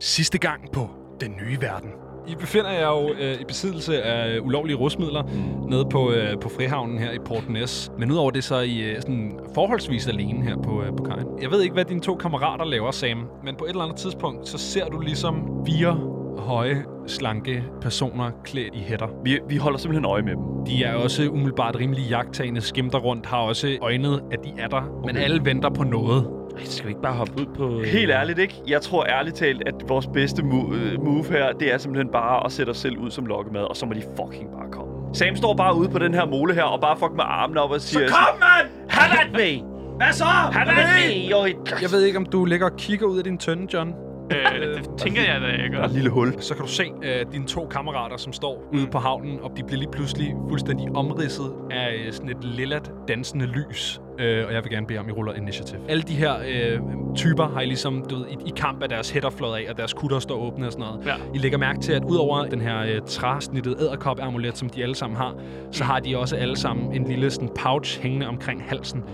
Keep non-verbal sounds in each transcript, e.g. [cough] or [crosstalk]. Sidste gang på Den Nye Verden. I befinder jer jo øh, i besiddelse af ulovlige rusmidler Mm. nede på, øh, på Frihavnen her i Port Næs. Men udover det, så er I øh, sådan forholdsvis alene her på, øh, på kajen. Jeg ved ikke, hvad dine to kammerater laver, Sam. Men på et eller andet tidspunkt, så ser du ligesom fire høje, slanke personer klædt i hætter. Vi, vi holder simpelthen øje med dem. De er også umiddelbart rimelig jagttagende, skimter rundt, har også øjnet, at de er der. Okay. Men alle venter på noget. Ej, skal vi ikke bare hoppe ud på... øh, Helt ærligt, ikke? Jeg tror ærligt talt, at vores bedste mo- øh, move her, det er simpelthen bare at sætte os selv ud som lokkemad, og så må de fucking bare komme. Sam står bare ude på den her mole her, og bare fucking med armene op og siger... mand! Han er med! Hvad så? Han er med! Jo, i- Jeg ved ikke, om du ligger og kigger ud af din tønde, John. Øh, det tænker jeg da, jeg gør. Der er et lille hul. Så kan du se øh, dine to kammerater, som står ude på havnen, og de bliver lige pludselig fuldstændig omridset af øh, sådan et lillat dansende lys. Øh, og jeg vil gerne bede om, I ruller initiativ. Alle de her øh, typer har I ligesom, du ved, i, i kamp af deres hætter flået af, og deres kutter står åbne og sådan noget. Ja. I lægger mærke til, at udover den her øh, træsnittede æderkop-amulet, som de alle sammen har, så har de også alle sammen en lille sådan, pouch hængende omkring halsen.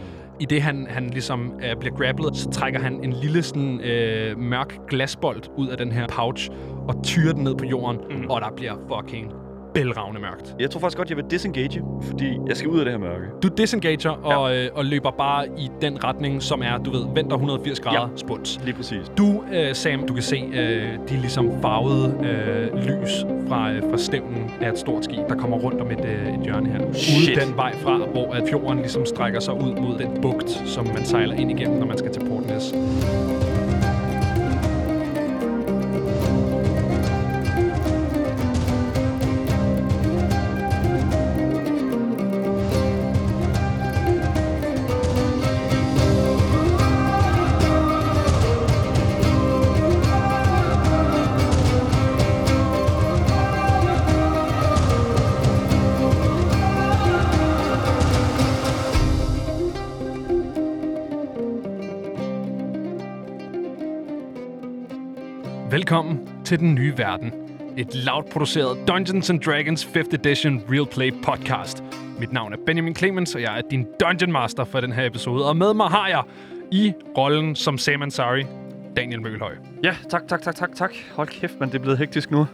I det, han, han ligesom øh, bliver grapplet, så trækker han en lille sådan, øh, mørk glasbold ud af den her pouch og tyrer den ned på jorden, mm. og der bliver fucking bælragende mørkt. Jeg tror faktisk godt, jeg vil disengage, fordi jeg skal ud af det her mørke. Du disengager og, øh, og løber bare i den retning, som er, du ved, venter 180 grader ja. spunds. Lige præcis. Du, øh, Sam, du kan se øh, de ligesom farvede øh, lys fra, øh, fra stævnen af et stort skib, der kommer rundt om et, øh, et hjørne her. Shit. Ude den vej fra, hvor at fjorden ligesom strækker sig ud mod den bugt, som man sejler ind igennem, når man skal til Portnæs. Velkommen til Den Nye Verden. Et lavt produceret Dungeons and Dragons 5th Edition Real Play podcast. Mit navn er Benjamin Clemens, og jeg er din Dungeon Master for den her episode. Og med mig har jeg i rollen som Sam Ansari, Daniel Møgelhøj. Ja, tak, tak, tak, tak, tak. Hold kæft, man, det er blevet hektisk nu.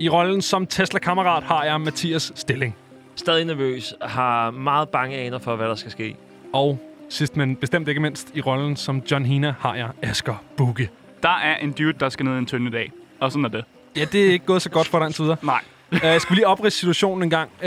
I rollen som Tesla-kammerat har jeg Mathias Stilling. Stadig nervøs. Har meget bange aner for, hvad der skal ske. Og sidst men bestemt ikke mindst, i rollen som John Hina har jeg Asger Bukke. Der er en dude, der skal ned i en tynde dag. Og sådan er det. Ja, det er ikke gået så godt for dig indtil videre. Nej. uh, jeg skal lige opridse situationen en gang. Uh,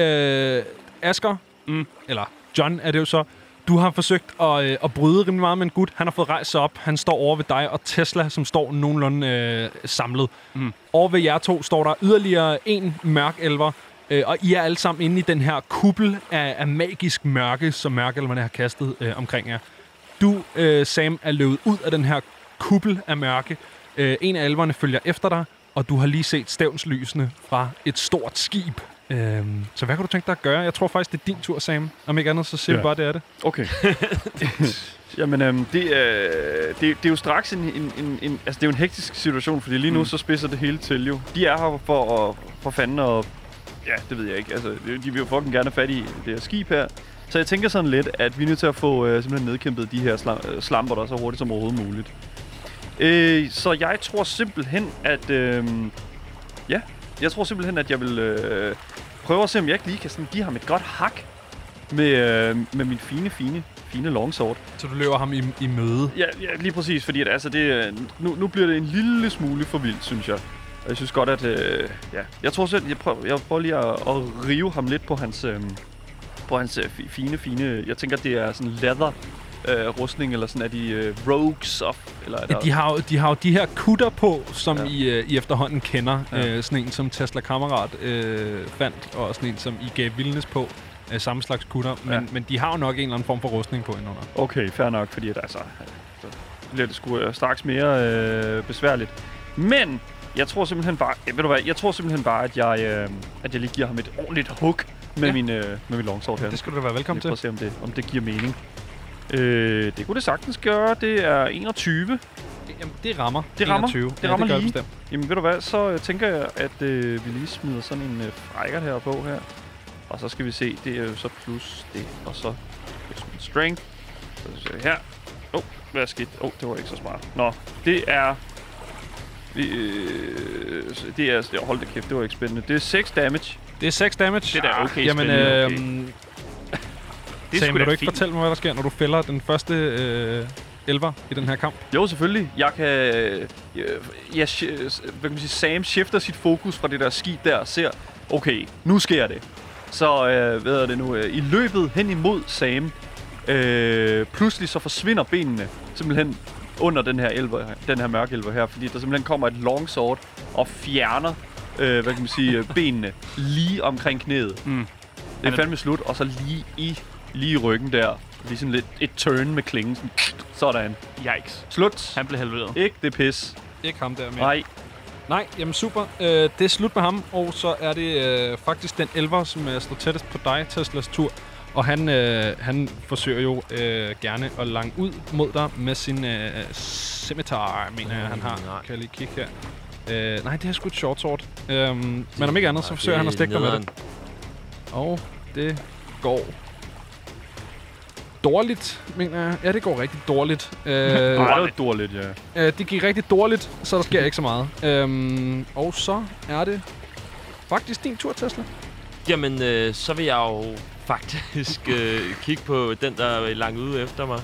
Asger, mm. Mm. eller John er det jo så, du har forsøgt at, øh, at bryde rimelig meget med en gut. Han har fået rejst sig op. Han står over ved dig og Tesla, som står nogenlunde øh, samlet. Mm. Over ved jer to står der yderligere en mørk elver. Øh, og I er alle sammen inde i den her kuppel af, af magisk mørke, som mørkelverne har kastet øh, omkring jer. Du, øh, Sam, er løbet ud af den her kuppel af mørke. Øh, en af alverne følger efter dig, og du har lige set stævnslysene fra et stort skib. Øh, så hvad kan du tænke dig at gøre? Jeg tror faktisk, det er din tur, Sam. Om ikke andet, så siger ja. Ja. vi bare, det er det. Okay. [laughs] Jamen, øhm, det, øh, det, det er jo straks en, en, en, en... Altså, det er jo en hektisk situation, fordi lige nu mm. så spidser det hele til jo. De er her for, at, for fanden og... Ja, det ved jeg ikke. Altså, de vil jo fucking gerne have fat i det her skib her. Så jeg tænker sådan lidt, at vi er nødt til at få øh, simpelthen nedkæmpet de her slam, øh, slamper der så hurtigt som overhovedet muligt. Øh, så jeg tror simpelthen, at... Øh, ja, jeg tror simpelthen, at jeg vil øh, prøve at se, om jeg ikke lige kan sådan, give ham et godt hak med, øh, med min fine, fine, fine longsword. Så du løber ham i, i møde. Ja, ja lige præcis, fordi at, altså, det, øh, nu, nu bliver det en lille smule for vildt, synes jeg. Og jeg synes godt, at... Øh, ja. Jeg tror selv, jeg prøver, jeg prøver lige at, at rive ham lidt på hans... Øh, på hans øh, fi- fine, fine... Jeg tænker, det er sådan leather øh, rustning, eller sådan er de øh, rogues of... Eller er Ja, der, de, har jo, de har jo de her kutter på, som ja. Ja. I, øh, I efterhånden kender. Ja. Ja. Øh, sådan en, som Tesla-kammerat øh, fandt, og sådan en, som I gav vildnes på. Øh, samme slags kutter. Men, Ja. men de har jo nok en eller anden form for rustning på indenunder. Okay, fair nok, fordi at, altså, så bliver det sgu øh, straks mere øh, besværligt. Men jeg tror simpelthen bare, ja, ved du hvad, jeg tror simpelthen bare, at jeg, øh, at jeg lige giver ham et ordentligt hook med, Ja. ja. min, øh, med min longsword her. Det skal du da være velkommen Lige prøve til. at se, om det, om det giver mening. Øh, det kunne det sagtens gøre. Det er 21. Jamen, det rammer. Det rammer. 21. Det rammer ja, det gør lige. bestemt. Jamen ved du hvad, så øh, tænker jeg, at øh, vi lige smider sådan en øh, frækker her på her. Og så skal vi se, det er jo så plus det, og så plus min strength. Så ser vi her. Åh, oh, hvad er skidt? Åh, oh, det var ikke så smart. Nå, det er Vi, øh, så det er, altså- hold da kæft, det var ikke spændende. Det er 6 damage. Det er 6 damage. Det er da okay Jamen, spændende, øh, okay. okay. Det er Sam, sgu vil da du ikke fint. fortælle mig, hvad der sker, når du fælder den første øh, elver i den her kamp? Jo, selvfølgelig. Jeg kan... Øh, jeg, sh- øh, hvad kan man sige, Sam shifter sit fokus fra det der skib der og ser, okay, nu sker det. Så, øh, hvad er det nu, øh, i løbet hen imod Sam, øh, pludselig så forsvinder benene simpelthen under den her, elver, den her mørke elver her, fordi der simpelthen kommer et longsword og fjerner, øh, hvad kan man sige, øh, benene lige omkring knæet. Mm. Det er fandme slut, og så lige i, lige i ryggen der, lige sådan lidt et turn med klingen, sådan, sådan. Yikes. Slut. Han blev halveret. Ikke det pis. Ikke ham der med. Nej. Nej, jamen super. Øh, det er slut med ham, og så er det øh, faktisk den elver, som øh, står tættest på dig, Teslas tur. Og han, øh, han forsøger jo øh, gerne at lange ud mod dig med sin øh, scimitar, mener jeg, han har. Nej. Kan jeg lige kigge her. Øh, nej, det er sgu et short sword. Øhm, men om ikke andet, så forsøger han at stikke dig med det. Og det går dårligt, mener jeg. Ja, det går rigtig dårligt. Øh, Det var jo dårligt, [laughs] ja. Øh, det gik rigtig dårligt, så der sker ikke så meget. Øhm, og så er det faktisk din tur, Tesla. Jamen, øh, så vil jeg jo faktisk [laughs] øh, kigge på den, der er langt ude efter mig.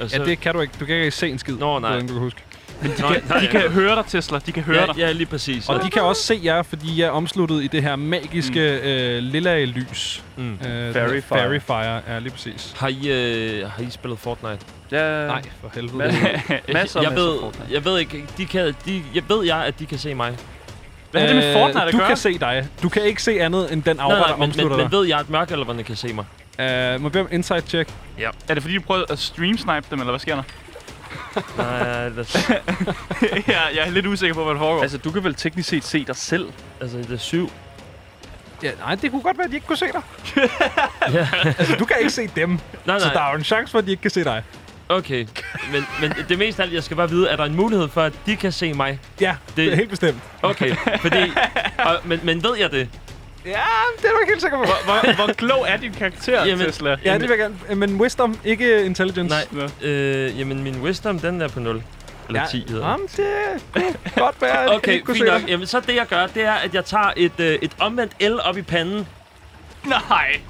Og Ja, det kan du ikke. Du kan ikke se en skid. Nå, nej. hvordan Du kan huske. Nå, nej, De jeg- kan høre dig, Tesla. De kan høre ja, dig. ja, lige præcis. Og de kan også se jer, fordi jeg er omsluttet i det her magiske mm. øh, lilla lys. Mm. Øh, det Fairy her fire. Fairy fire, ja, lige præcis. Har I, øh, har I spillet Fortnite? ja. Nej, for helvede. Masser, [laughs] masser, jeg masser ved, jeg ved ikke, de kan, de, jeg ved jeg, at de kan se mig. Hvad har det med Øh, Fortnite at Du gøre? kan se dig. Du kan ikke se andet end den aura, der men, men, omslutter men dig. ved jeg, at mørkelverne kan se mig? Øh, må vi have en insight check? Er det fordi, du prøvede at streamsnipe dem, eller hvad sker der? Nej, det, [laughs] jeg, jeg er lidt usikker på, hvad der foregår. Altså, du kan vel teknisk set se dig selv? altså, det er [laughs] syv. Ja, nej, det kunne godt være, at de ikke kunne se dig. [laughs] altså, du kan ikke se dem, Nej, så der nej, er jo en chance for, at de ikke kan se dig. okay. Men, men det meste af alt, jeg skal bare vide, er der en mulighed for, at de kan se mig? Ja, det er helt bestemt. [laughs] Okay, fordi... Og, men, men ved jeg det? Ja, det er du ikke helt sikker på. Hvor, hvor klog er din karakter, Jamen- Tesla? Ja, det vil jeg gerne. Øh, Men wisdom, ikke intelligence. Nej. Nå. Øh, jamen, min wisdom, den er på 0. Eller Ja, 10 hedder det. Jamen, det kunne godt være, at jeg Okay, ikke [laughs] kunne fint se nok. dig. Jamen, så det, jeg gør, det er, at jeg tager et, øh, et omvendt L op i panden, Nej.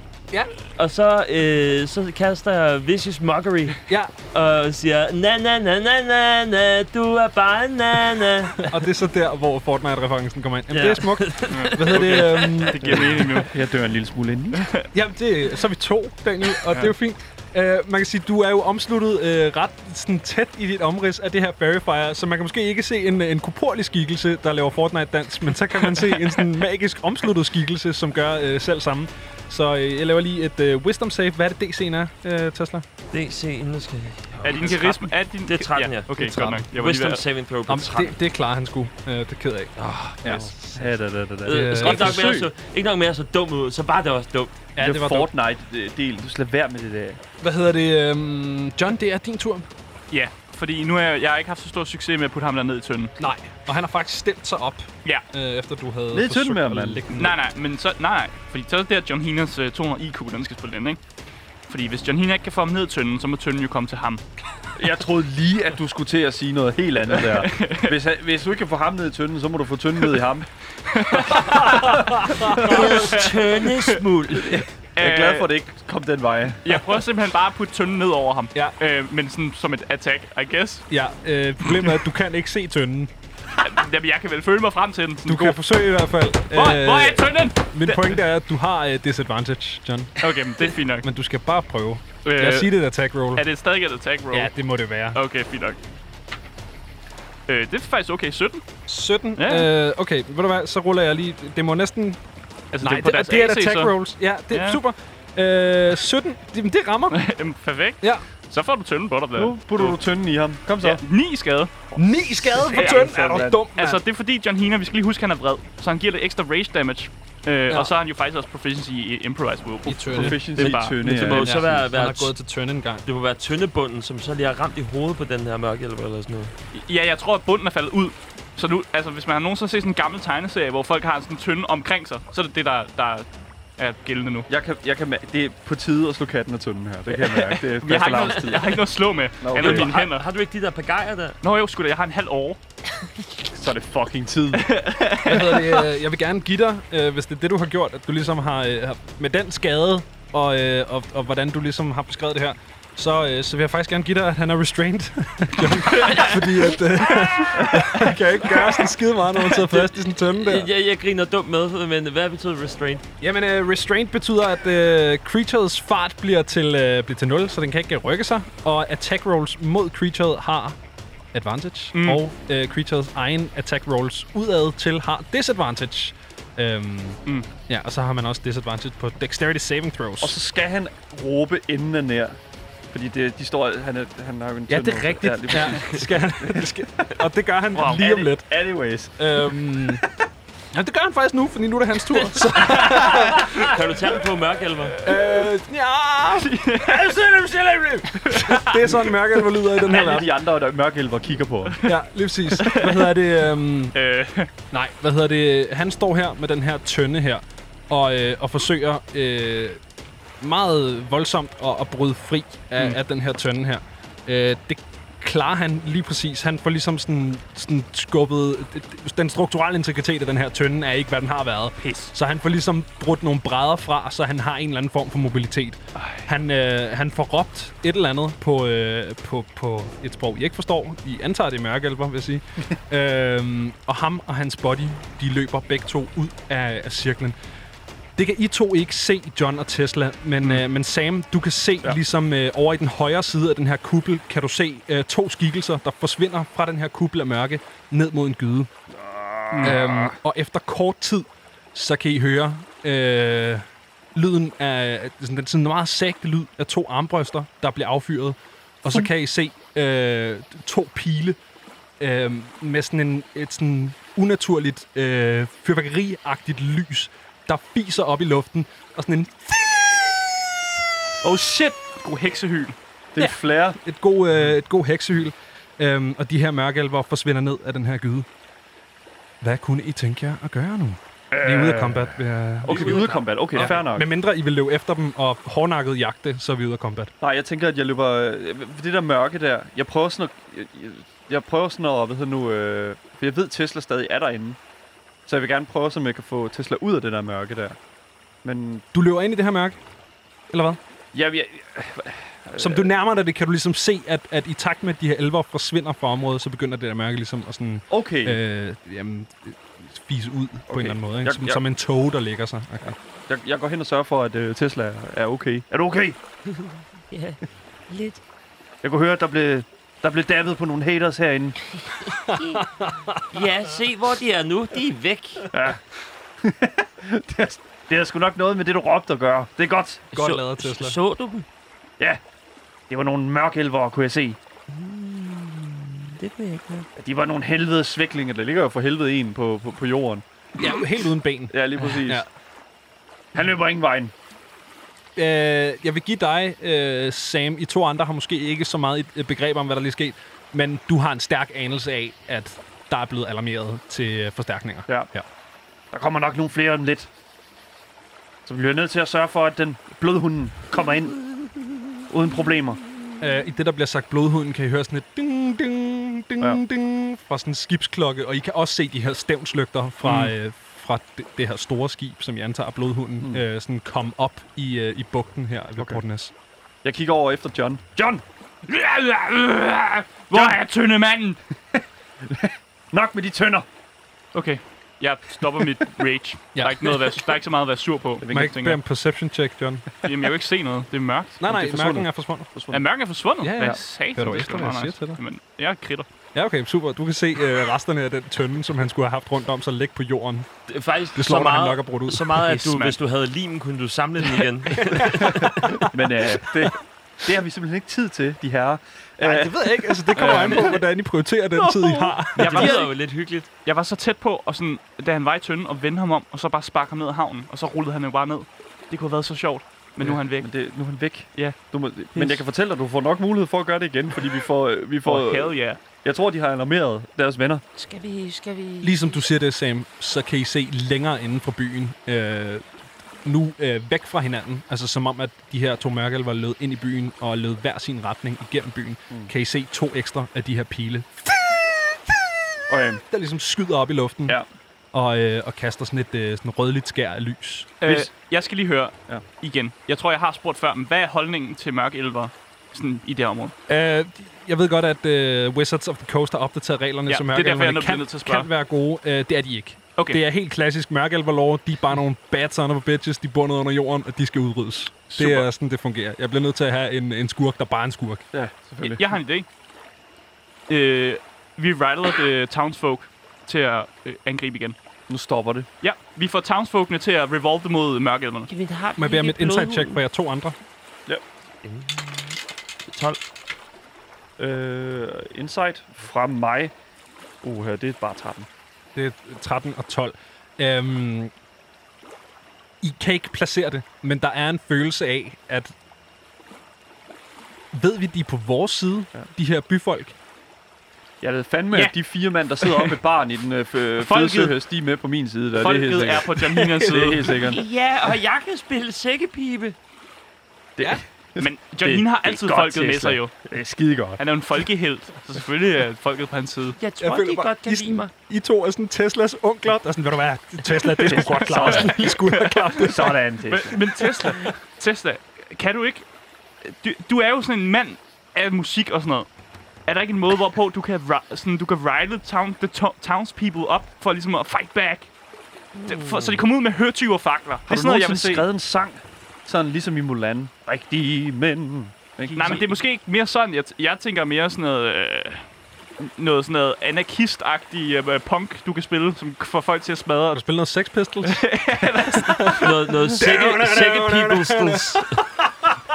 og så, øh, så kaster jeg Vicious Mockery Ja, og siger, na na na na na na, du er bare na [laughs] na. og det er så der, hvor Fortnite-referencen kommer ind. Jamen, Ja. det er [laughs] smukt. Hvad hedder det? Øhm, Det giver mening nu. Jeg dør en lille smule ind. jamen, det, så er vi to, Daniel, og det er jo fint. Uh, man kan sige, du er jo omsluttet uh, ret sådan, tæt i dit omrids af det her Verifier, så man kan måske ikke se en, en korporlig skikkelse, der laver Fortnite-dans, men så kan man se en [laughs] sådan magisk omsluttet skikkelse, som gør uh, selv samme. Så uh, jeg laver lige et uh, wisdom save. Hvad er det DC'en er, uh, Tesla? DC, inden jeg skal... Er din karisma... Er din... Det er 13, ja. Okay, Det er godt nok. Jeg var lige Wisdom ved. saving throw på Om, 13. det, det klarer han sgu. Uh, det er ked af. Ja. Ja, da, da, da, da. det er Øh, så et ikke, nok mere, forsøg. så, ikke nok mere så dum ud, så bare det var også dumt. Ja, det var dumt. Fortnite-del. Du skal lade være med det der. Hvad hedder det? Øhm, John, det er din tur. Ja, fordi nu har jeg, jeg har ikke haft så stor succes med at putte ham der ned i tønden. Nej. Og han har faktisk stillet sig op, Ja. øh, efter du havde Ned i tynden med ham, mand. Nej, nej, men så... Nej, nej. Fordi så er det der John Hinas øh, 200 IQ, den skal spille den, ikke? Fordi hvis John Hina ikke kan få ham ned i tønden, så må tønden jo komme til ham. Jeg troede lige, at du skulle til at sige noget helt andet [laughs] der. Hvis, han- hvis du ikke kan få ham ned i tynden, så må du få tynden ned i ham. [laughs] Tøndesmuld. [laughs] Jeg er glad for, at det ikke kom den vej. Jeg prøver simpelthen bare at putte tønden ned over ham. Ja. Øh, men sådan som et attack, I guess. Ja, øh, problemet er, at du kan ikke se tønden. Jamen, jeg kan vel føle mig frem til den. Sådan Du god. kan forsøge i hvert fald. Øh, Hvor, hvor er tønden? min pointe er, at du har øh, disadvantage, John. Okay, men det er fint nok. Men du skal bare prøve. Øh, Lad os sige, det er et attack roll. er det stadig et attack roll? Ja, det må det være. Okay, fint nok. Øh, det er faktisk okay. 17? 17. Ja. Øh, okay, ved du hvad, så ruller jeg lige. Det må næsten... Altså, Nej, på det, deres det, det er et AC, attack så. rolls. Ja, det er Ja. super. Øh, 17. Det, men det rammer. [laughs] Jamen, perfekt. Ja. Så får du tønden på dig, Blader. Nu putter du tynden i ham. Kom så. Ja, 9 skade. 9 skade på tønden. Er du mand. dum, mand. Altså, det er fordi John Hina, vi skal lige huske, han er vred. Så han giver lidt ekstra rage damage. Øh, ja. Og så er han jo faktisk også proficiency i improvised will. I tønde. Proficiency Det er i bare- tynde. det er Det må Ja. jo så være, Han være har gået til tønde en gang. Det må være tyndebunden, som så lige har ramt i hovedet på den her mørke eller eller sådan noget. Ja, jeg tror, at bunden er faldet ud. Så nu, altså, hvis man har nogensinde set sådan en gammel tegneserie, hvor folk har sådan en tynde omkring sig, så er det det, der, der er gældende nu. Jeg kan, jeg kan mær- det er på tide at slå katten af tynden her. Det kan jeg mærke. Det er Jeg første har, ikke noget, lavstid. jeg har ikke noget at slå med, okay. andet end mine Har, hænder. har du ikke de der pagajer der? Nå jo, sgu da, jeg har en halv åre. Så er det fucking tid. Hvad hedder det? Øh, Jeg vil gerne give dig, øh, hvis det er det, du har gjort, at du ligesom har øh, har- med den skade, og, øh, og, og hvordan du ligesom har beskrevet det her, så, øh, så vil jeg faktisk gerne give dig, at han er restrained. [laughs] John. Fordi at, øh, [laughs] han kan ikke gøre sådan skide meget, når man sidder fast i sådan en tømme der. Jeg, jeg, jeg griner dumt med, men hvad betyder restraint? Jamen, øh, restraint betyder, at øh, creatures fart bliver til, øh, bliver til 0, så den kan ikke øh, rykke sig. Og attack rolls mod creaturet har advantage, mm. og øh, creatures egen attack rolls udad til har disadvantage. Øhm, mm. Ja, og så har man også disadvantage på dexterity saving throws. Og så skal han råbe inden af nær. Fordi det, de står, han, er, han har jo en ja, det tynd er nose. rigtigt. lige Ja, præcis. skal [laughs] han, skal, og det gør han wow. lige Any- om lidt. Anyways. Øhm, ja, det gør han faktisk nu, for nu er det hans tur. Så, Kan du tage den på mørk, Elver? øh, [laughs] [laughs] ja, det er sådan mørke, hvor lyder i den her verden. Alle de andre der er mørkelver kigger på ham. Ja, lige præcis. Hvad hedder det? Øhm, Øh, nej, hvad hedder det? Han står her med den her tønde her, og, øh, og forsøger øh, meget voldsomt at, at bryde fri af, mm. af den her tønde her. Øh, det klarer han lige præcis. Han får ligesom sådan, sådan skubbet... Den strukturelle integritet af den her tønde er ikke, hvad den har været. Pis. Så han får ligesom brudt nogle brædder fra, så han har en eller anden form for mobilitet. Han, øh, han får råbt et eller andet på, øh, på, på et sprog, jeg ikke forstår. I antager det er mørkehjælper, vil jeg [laughs] sige. øhm, og ham og hans body, de løber begge to ud af, af cirklen. Det kan I to ikke se, John og Tesla, men, mm. øh, men Sam, du kan se ja. ligesom øh, over i den højre side af den her kuppel, kan du se øh, to skikkelser, der forsvinder fra den her kuppel af mørke ned mod en gyde. Mm. Øhm, og efter kort tid, så kan I høre øh, lyden af sådan, den sådan meget sagte lyd af to armbryster, der bliver affyret. Og så kan I se øh, to pile øh, med sådan en, et sådan unaturligt øh, fyrværkeriagtigt lys, der fiser op i luften, og sådan en, oh shit, god heksehyl. Det er ja. flere. et god, øh, et god heksehyl. Øhm, og de her mørkealver forsvinder ned af den her gyde. Hvad kunne I tænke jer at gøre nu? Øh, I er ude af combat. Vil jeg... Okay, vi er ude af combat. Okay, ja. fair nok. Med mindre I vil løbe efter dem og hårdnakket jagte, så er vi ude af combat. Nej, jeg tænker, at jeg løber... øh, Det der mørke der, jeg prøver sådan at... Jeg, jeg- jeg prøver sådan at, hvad hedder nu... Øh, for jeg ved, Tesla stadig er derinde. Så jeg vil gerne prøve, om jeg kan få Tesla ud af det der mørke der. Men Du løber ind i det her mørke, eller hvad? ja, jeg, Som du nærmer dig det, kan du ligesom se, at, at i takt med, at de her elver forsvinder fra området, så begynder det der mørke ligesom at sådan, okay, øh. øh, jamen, øh, fise ud okay. på en Okay. eller anden måde. Ikke? Jeg- Som, jeg- som en tog, der lægger sig. Okay. jeg, jeg går hen og sørger for, at øh, Tesla er okay. Er du okay? Ja, lidt. Jeg kunne høre, at der blev, der blev dabbet på nogle haters herinde. Ja, se hvor de er nu. De er væk. Det er sgu nok noget med det, du råbte at gøre. Det er godt. Godt Så- lavet, Tesla. Så du dem? Ja, det var nogle mørkelvere, kunne jeg se. Det kunne jeg ikke høre. De var nogle helvede sviklinger. Der ligger jo for helvede en på, på, på jorden. Ja, helt uden ben. Ja, lige præcis. Ja. Ja. Han løber ingen vejen. Øh, jeg vil give dig, øh, Sam, I to andre har måske ikke så meget et- et begreb om, hvad der lige er sket, men du har en stærk anelse af, at der er blevet alarmeret til øh, forstærkninger. Ja. Ja. Der kommer nok nogle flere om lidt. Så vi bliver nødt til at sørge for, at den blodhunden kommer ind. Uden problemer. Øh, I det, der bliver sagt blodhuden, kan I høre sådan et ding, ding, ding, ja. Ja. ding fra sådan en skibsklokke, og I kan også se de her stævnslygter fra, mm. øh, fra det, det her store skib, som jeg antager er blodhunden, mm. øh, sådan komme op i, øh, i bugten her ved okay. Portnæs. Jeg kigger over efter John. John! Hvor er tynde manden? Nok med de tønder! Okay, jeg stopper mit rage. Ja. [laughs] ja. der, er ikke noget at være, der er ikke så meget at være sur på. Må jeg ikke bede om perception check, [laughs] John? Jamen, jeg kan ikke se noget. Det er mørkt. Nej, nej, det er forsvundet. mørken er forsvundet. Er mørken er forsvundet? Ja, ja. Hvad satan, Hører du det efter, er hvad jeg meget siger nice. til dig? Jamen, jeg kritter. Ja, okay, super. Du kan se øh, resterne af den tønde, som han skulle have haft rundt om sig, ligge på jorden. Det er faktisk Det slår så mig, han meget, nok er brudt ud. så meget, at Yes, du, mand. hvis du havde limen, kunne du samle den [laughs] igen. Men øh, det, det har vi simpelthen ikke tid til, de herrer. Øh, Nej, det ved jeg ikke. Altså, [laughs] det kommer an på, hvordan I prioriterer den tid, I har. Jeg Det lyder var, jo lidt hyggeligt. jeg var så tæt på, og sådan, da han var i tønden, og vende ham om, og så bare sparke ham ned af havnen, og så rullede han jo bare ned. Det kunne have været så sjovt, men nu er han væk. Men det, nu er han væk. Ja. Du må, men jeg kan fortælle dig, at du får nok mulighed for at gøre det igen, fordi vi får... øh, Vi får For hell yeah. jeg tror, de har alarmeret deres venner. Skal vi, skal vi... Ligesom du siger det, Sam, så kan I se længere inden for byen. Øh, nu øh, væk fra hinanden. Altså som om, at de her to mørkelver lød ind i byen og lød hver sin retning igennem byen. Mm. Kan I se to ekstra af de her pile Okay. der ligesom skyder op i luften Ja. og, øh, og kaster sådan et øh, sådan rødligt skær af lys. Øh, Hvis- jeg skal lige høre Ja. ja. igen. Jeg tror, jeg har spurgt før, men hvad er holdningen til mørke elver sådan i det her område? Øh, jeg ved godt, at øh, Wizards of the Coast har opdateret reglerne, Ja, så det er derfor, jeg mørkelverne nu bliver kan, nødt til at spørge. kan være gode. Øh, det er de ikke. Okay, Det er helt klassisk mørkelverlov. De er bare nogle bad son of a bitches. De bor nede under jorden, og de skal udryddes. Super. Det er sådan, det fungerer. Jeg bliver nødt til at have en, en skurk, der bare er en skurk. Ja, jeg, selvfølgelig. jeg har en idé. Øh, vi rattled the townsfolk til at øh, angribe igen. Nu stopper det. Ja, vi får townsfolkene til at revolve dem mod mørke elverne. Jamen, der har vi Må jeg bede om et ikke insight check blodhunden. for jer to andre? 12. Øh, insight fra mig. Uh, det er bare 13. Det er 13 og 12. Øhm, I kan ikke placere det, men der er en følelse af, at ved vi, de er på vores side, ja. de her byfolk? Jeg ved fandme, Ja. at de fire mand, der sidder oppe ved barn i den øh, f- Folket- fødselsøhøst, de er med på min side. Der. det er helt Folket sikkert. er på [laughs] Jaminas Det er side. helt sikkert. Ja, og jeg kan spille sækkepibe. Men Jamina har det er altid godt, folket med Tesla. sig jo. Det er skide godt. Han er jo en folkehelt, så selvfølgelig er folket på hans side. Jeg tror, jeg de bare, godt kan I, lide mig. sådan, I to er sådan Teslas onkler. Der er sådan, ved du hvad, Tesla, det er sgu godt [laughs] klart. I skulle have klart det. Sådan, det. Men, men Tesla, Tesla, kan du ikke... Du, du er jo sådan en mand af musik og sådan noget. Er der ikke en måde, hvorpå du kan, ri- sådan, du kan ride town, the to, townspeople op for ligesom at fight back? Det- For, så de kommer ud med høtyve og fakler. Det Har du er sådan noget, jeg vil nogensinde se. skrevet en sang, sådan ligesom i Mulan? Rigtige mænd. Ikke? Nej, men det er måske ikke mere sådan. Jeg, t- jeg tænker mere sådan noget... Øh, noget sådan noget anarkistagtig øh, punk, du kan spille, som k- får folk til at smadre. Har du spillet noget Sex Pistols? Noget, [laughs] noget sække, sække peoplestels.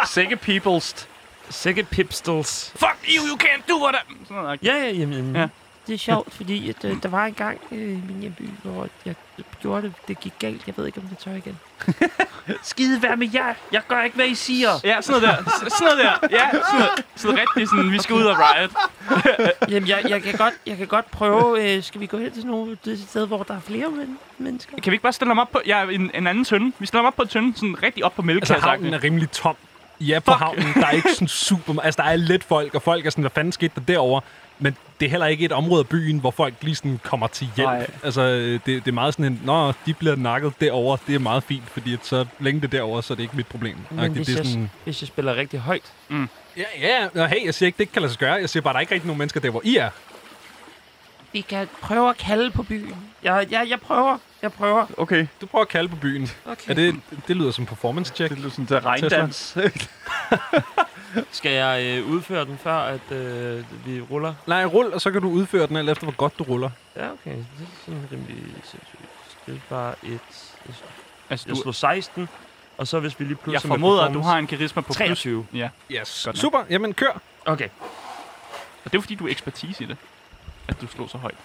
Sikke peoples. Sække pipstels. Fuck you, you can't do what I... Sådan noget. Ja, ja, jamen, jamen. Ja. Ja. Det er sjovt, fordi at, øh, der var engang øh, i min hjemby, hvor jeg gjorde det. Det gik galt. Jeg ved ikke, om det tør igen. Skide vær med jer. Jeg gør ikke, hvad I siger. Ja, sådan noget der. S- Sådan noget der. Ja, sådan, noget. sådan rigtig sådan, vi skal ud og riot. Jamen, jeg, jeg, kan, godt, jeg kan godt prøve. Øh, skal vi gå hen til nogle det sted, hvor der er flere men, mennesker? Kan vi ikke bare stille ham op på... Jeg er en, en anden tønde. Vi stiller ham op på en tønde, sådan rigtig op på Altså, mælkekassen. havnen er rimelig tom. Ja, på Fuck. havnen, der er ikke sådan super... ma- Altså, der er lidt folk, og folk er sådan, hvad fanden skete der derovre? Men det er heller ikke et område af byen, hvor folk lige sådan kommer til hjælp. Nej. Nej. Altså, øh, det, det er meget sådan en, nå, de bliver nakket derovre, det er meget fint, fordi at så længe det er derovre, så er det ikke mit problem. Men Agtigt, hvis, det er jeg, sådan, hvis jeg spiller rigtig højt. ja, ja, nå, hey, jeg siger ikke, det ikke kan lade sig gøre. Jeg siger bare, der er ikke rigtig nogen mennesker der, hvor I er. Vi kan prøve at kalde på byen. Jeg, jeg, jeg prøver. Jeg prøver. Okay, Du prøver at kalde på byen. Okay. Er det, det lyder som performance check. det lyder sådan til regndans. Skal jeg øh, udføre den, før at øh, vi ruller? Nej, rul, og så kan du udføre den, alt efter hvor godt du ruller. Ja, okay. Det er sådan rimelig sindssygt. Det er bare et... Altså, Jeg du, slog 16, og så hvis vi lige pludselig... jeg formoder, at du har en karisma på plus. 23. Yes. Godt nok. Super, jamen kør. Okay. Og det er jo, fordi, du er ekspertise i det. At du slår så højt.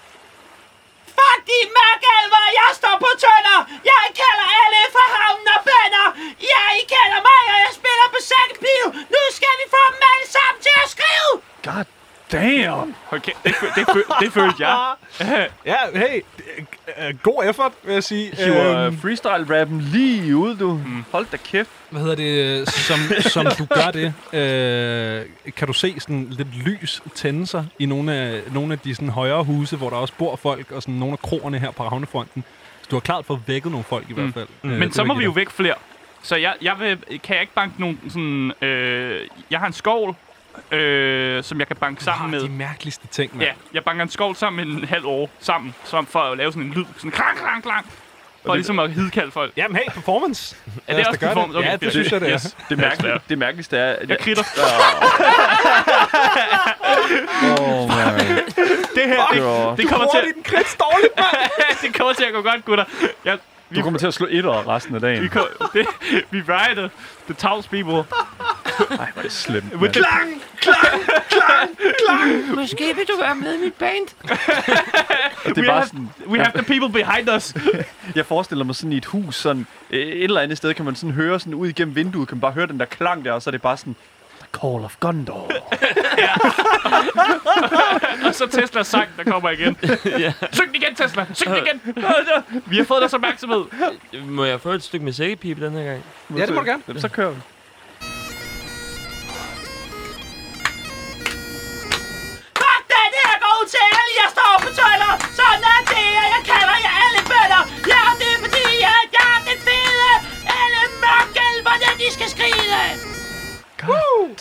Fuck de mørkalver! Jeg står på tønder! Jeg kalder alle fra havnen og bønder! Ja, I kalder mig, og jeg spiller på sækkepiv! Nu skal vi få dem alle sammen til at skrive! God damn. Okay, det, fø- det, fø- det følte jeg. Ja, hey, øh, øh, god effort, vil jeg sige. Hiver Øhm, øhm. freestyle-rappen lige ud, du. Mm. Hold da kæft. hvad hedder det, øh, som, som du gør det, øh, kan du se sådan lidt lys tænde sig i nogle af, nogle af de sådan højere huse, hvor der også bor folk, og sådan nogle af kroerne her på havnefronten. Så du har klart fået vækket nogle folk i hvert fald. Mm. Men så må vi jo væk flere. Så jeg, jeg vil, kan jeg ikke banke nogen sådan... Øh, jeg har en skovl, øh, som jeg kan banke sammen med. med. de mærkeligste ting, mand. Ja, jeg banker en skovl sammen med en halv år sammen, som for at lave sådan en lyd. Sådan klang, klang, klang. For ligesom at hidkalde folk. Jamen hey, performance. Er Lad det os da også gøre performance? Ja, det synes jeg, det er. Yes. Det, mærkelige, det mærkeligste er... At Jeg kritter. oh, man. Det her, det, Det det kommer til at... den kreds dårligt, mand. [laughs] det kommer til at gå godt, gutter. Jeg, du kommer til at slå etter resten af dagen. vi, Ej, kom, [laughs] det, vi ride the townspeople. hvor er det slemt. With mand. the, Måske vil du være med i mit band? Det we, er bare have, sådan, we have the people behind us. jeg forestiller mig sådan i et hus, sådan øh, et eller andet sted, kan man sådan høre sådan ud igennem vinduet, kan man bare høre den der klang der, og så er det bare sådan, The Call of Gondor. Og så Tesla sang, der kommer igen. Syng den igen, Tesla. Syng den igen. Vi har fået deres opmærksomhed. Må jeg få et stykke med sækkepipe den her [laughs] gang? Ja, det må du gerne. Jamen, så kører vi. Fuck, det her går ud til alle, jeg står på tønder!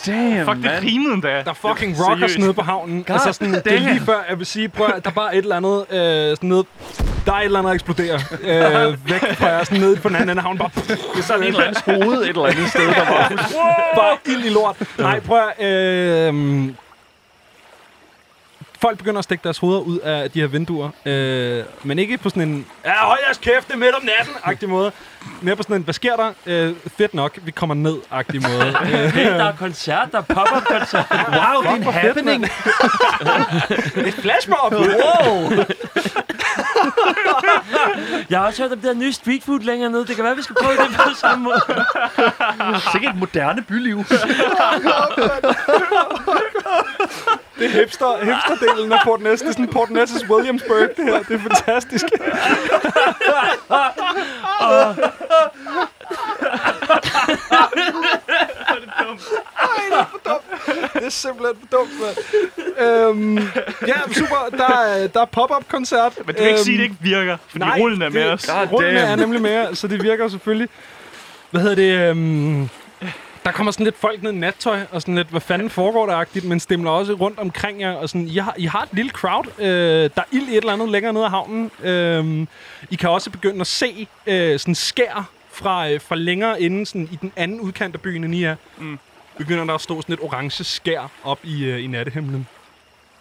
Damn, Fuck, det man. rimede endda. Der er fucking rockers seriøst. nede på havnen. God altså sådan, det er lige før, jeg vil sige, prøv at- der er bare et eller andet øh, sådan nede, der er et eller andet, der eksploderer øh, væk fra jer, sådan nede på den anden ende af havnen. Bare, Det er sådan en eller anden hoved et eller andet sted, der [laughs] var bare ild i lort. Nej, prøv at, øh, Folk begynder at stikke deres hoveder ud af de her vinduer, øh, men ikke på sådan en, ja, hold jeres kæft, det er midt om natten-agtig måde. Mere på sådan en, hvad sker der? Øh, fedt nok, vi kommer ned-agtig [laughs] måde. Øh, Hey, der er koncert, der popper koncert. [laughs] wow, det er en happening. [laughs] Et flashmob. Wow. [laughs] Jeg har også hørt om det der nye street food længere nede. Det kan være, vi skal prøve det på samme [laughs] måde. Sikkert et moderne byliv. Det er hipster, hipsterdelen af Port Næs. Det er sådan Port Næs' Williamsburg, det her. Det er fantastisk. Det er simpelthen for dumt, mand. Øhm, ja, super. Der er, der er pop-up-koncert. Men du kan ikke sige, at det ikke virker, fordi øhm, nej, rullen er med det- [laughs] os. God Rullene er damn. nemlig mere, så det virker selvfølgelig. Hvad hedder det? Øhm, der kommer sådan lidt folk ned i nattøj, og sådan lidt, hvad fanden foregår der-agtigt, men stemmer også rundt omkring jer, og sådan, I har, I har et lille crowd, øh, der er ild i et eller andet længere nede af havnen. Øh, I kan også begynde at se øh, sådan skær fra, øh, fra længere inde, sådan i den anden udkant af byen, end I er. Mm. Begynder der at stå sådan et orange skær op i, øh, i nattehimlen.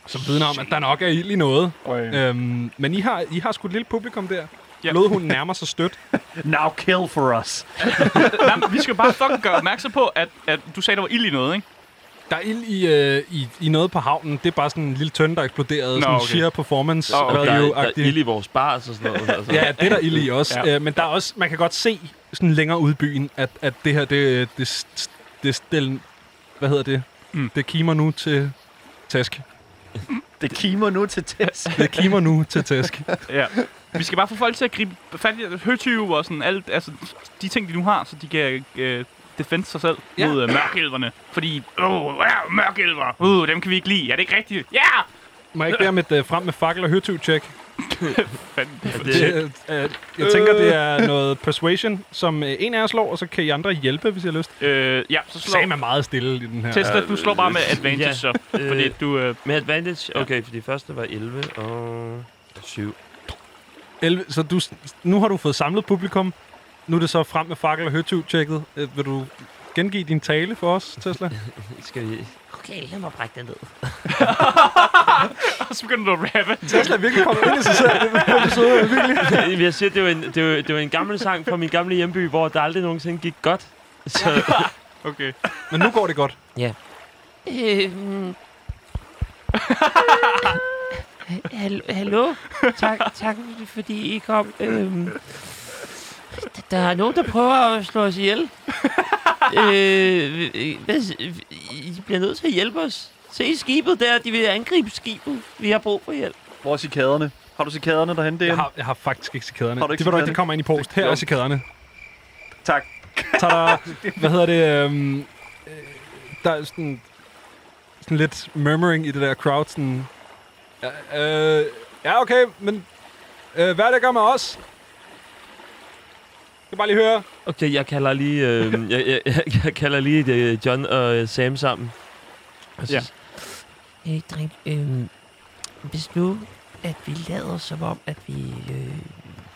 Som vidner om, at der nok er ild i noget. Øhm, men I har, I har sgu et lille publikum der. Ja. Yep. Blodhunden nærmer sig stødt. Now kill for us. Nej, men vi skal bare fucking gøre opmærksom på, at, at du sagde, der var ild i noget, ikke? Der er ild i, øh, i, i noget på havnen. Det er bare sådan en lille tønde, der eksploderede. Nå, Nå, sådan okay. okay. sheer performance Nå, oh, okay. Der, er- der er value-agtigt. ild i vores bar og sådan noget. Altså. Ja, det er der ild i også. Ja. Ja. Øh, men der er også, man kan godt se sådan længere ude i byen, at, at det her, det, det, det, det stil, hvad hedder det? Mm. Mm. Det kimer nu til tæsk. Det kimer nu til tæs. Det kimer nu til tæsk. [laughs] Ja. Vi skal bare få folk til at gribe fat i høtyve og sådan alt, altså de ting, de nu har, så de kan øh, defende sig selv Ja. ja. mod øh, mørkelverne. Fordi, åh, oh, ja, mørkelver, uh, dem kan vi ikke lide, er det ikke rigtigt? Ja! Må jeg ikke bære med øh, frem med fakkel og høretiv-check? Fanden, det er for- Det, Øh, øh, jeg tænker, det er noget persuasion, som øh, en af jer slår, og så kan I andre hjælpe, hvis I har lyst. Øh, ja, så slår Sam er meget stille i den her. Tesla, du slår bare med advantage, ja. så, Øh, fordi du... Øh, med advantage? Okay, fordi første var 11 og 7. 11, så du, nu har du fået samlet publikum. Nu er det så frem med fakkel og høtyv-tjekket. Øh, vil du gengive din tale for os, Tesla? Skal vi... Okay, lad mig brække [laughs] den ned. og [laughs] så begynder du at rappe. Tesla er virkelig kommet ind i sig selv. Jamen, Jeg siger, det var, en, det, var, det var en gammel sang fra min gamle hjemby, hvor der aldrig nogensinde gik godt. Så Okay. [laughs] Men nu går det godt. Øhm. [laughs] Hallo, hallo? Tak, tak fordi I kom. Øhm. d- Der er nogen, der prøver at slå os ihjel. øh, hvad, s- I bliver nødt til at hjælpe os. Se skibet der, de vil angribe skibet. Vi har brug for hjælp. Hvor er cikaderne? Har du cikaderne derhen, DM? Jeg har, jeg har faktisk ikke cikaderne. Har du ikke det var ikke, cikaderne? det kommer ind i post. Her er Jo. cikaderne. Tak. Tada. Hvad hedder det? Øhm, øh, der er sådan, sådan lidt murmuring i det der crowd. Sådan, øh, øh, ja, okay, men øh, hvad er det, der gør med os? Jeg kan bare lige høre. [laughs] okay, jeg kalder lige, øh, jeg, jeg, jeg, jeg kalder lige det, John og øh, Sam sammen. Og så, Ja. Hey, dreng, øhm, hvis nu, at vi lader som om, at vi, øh,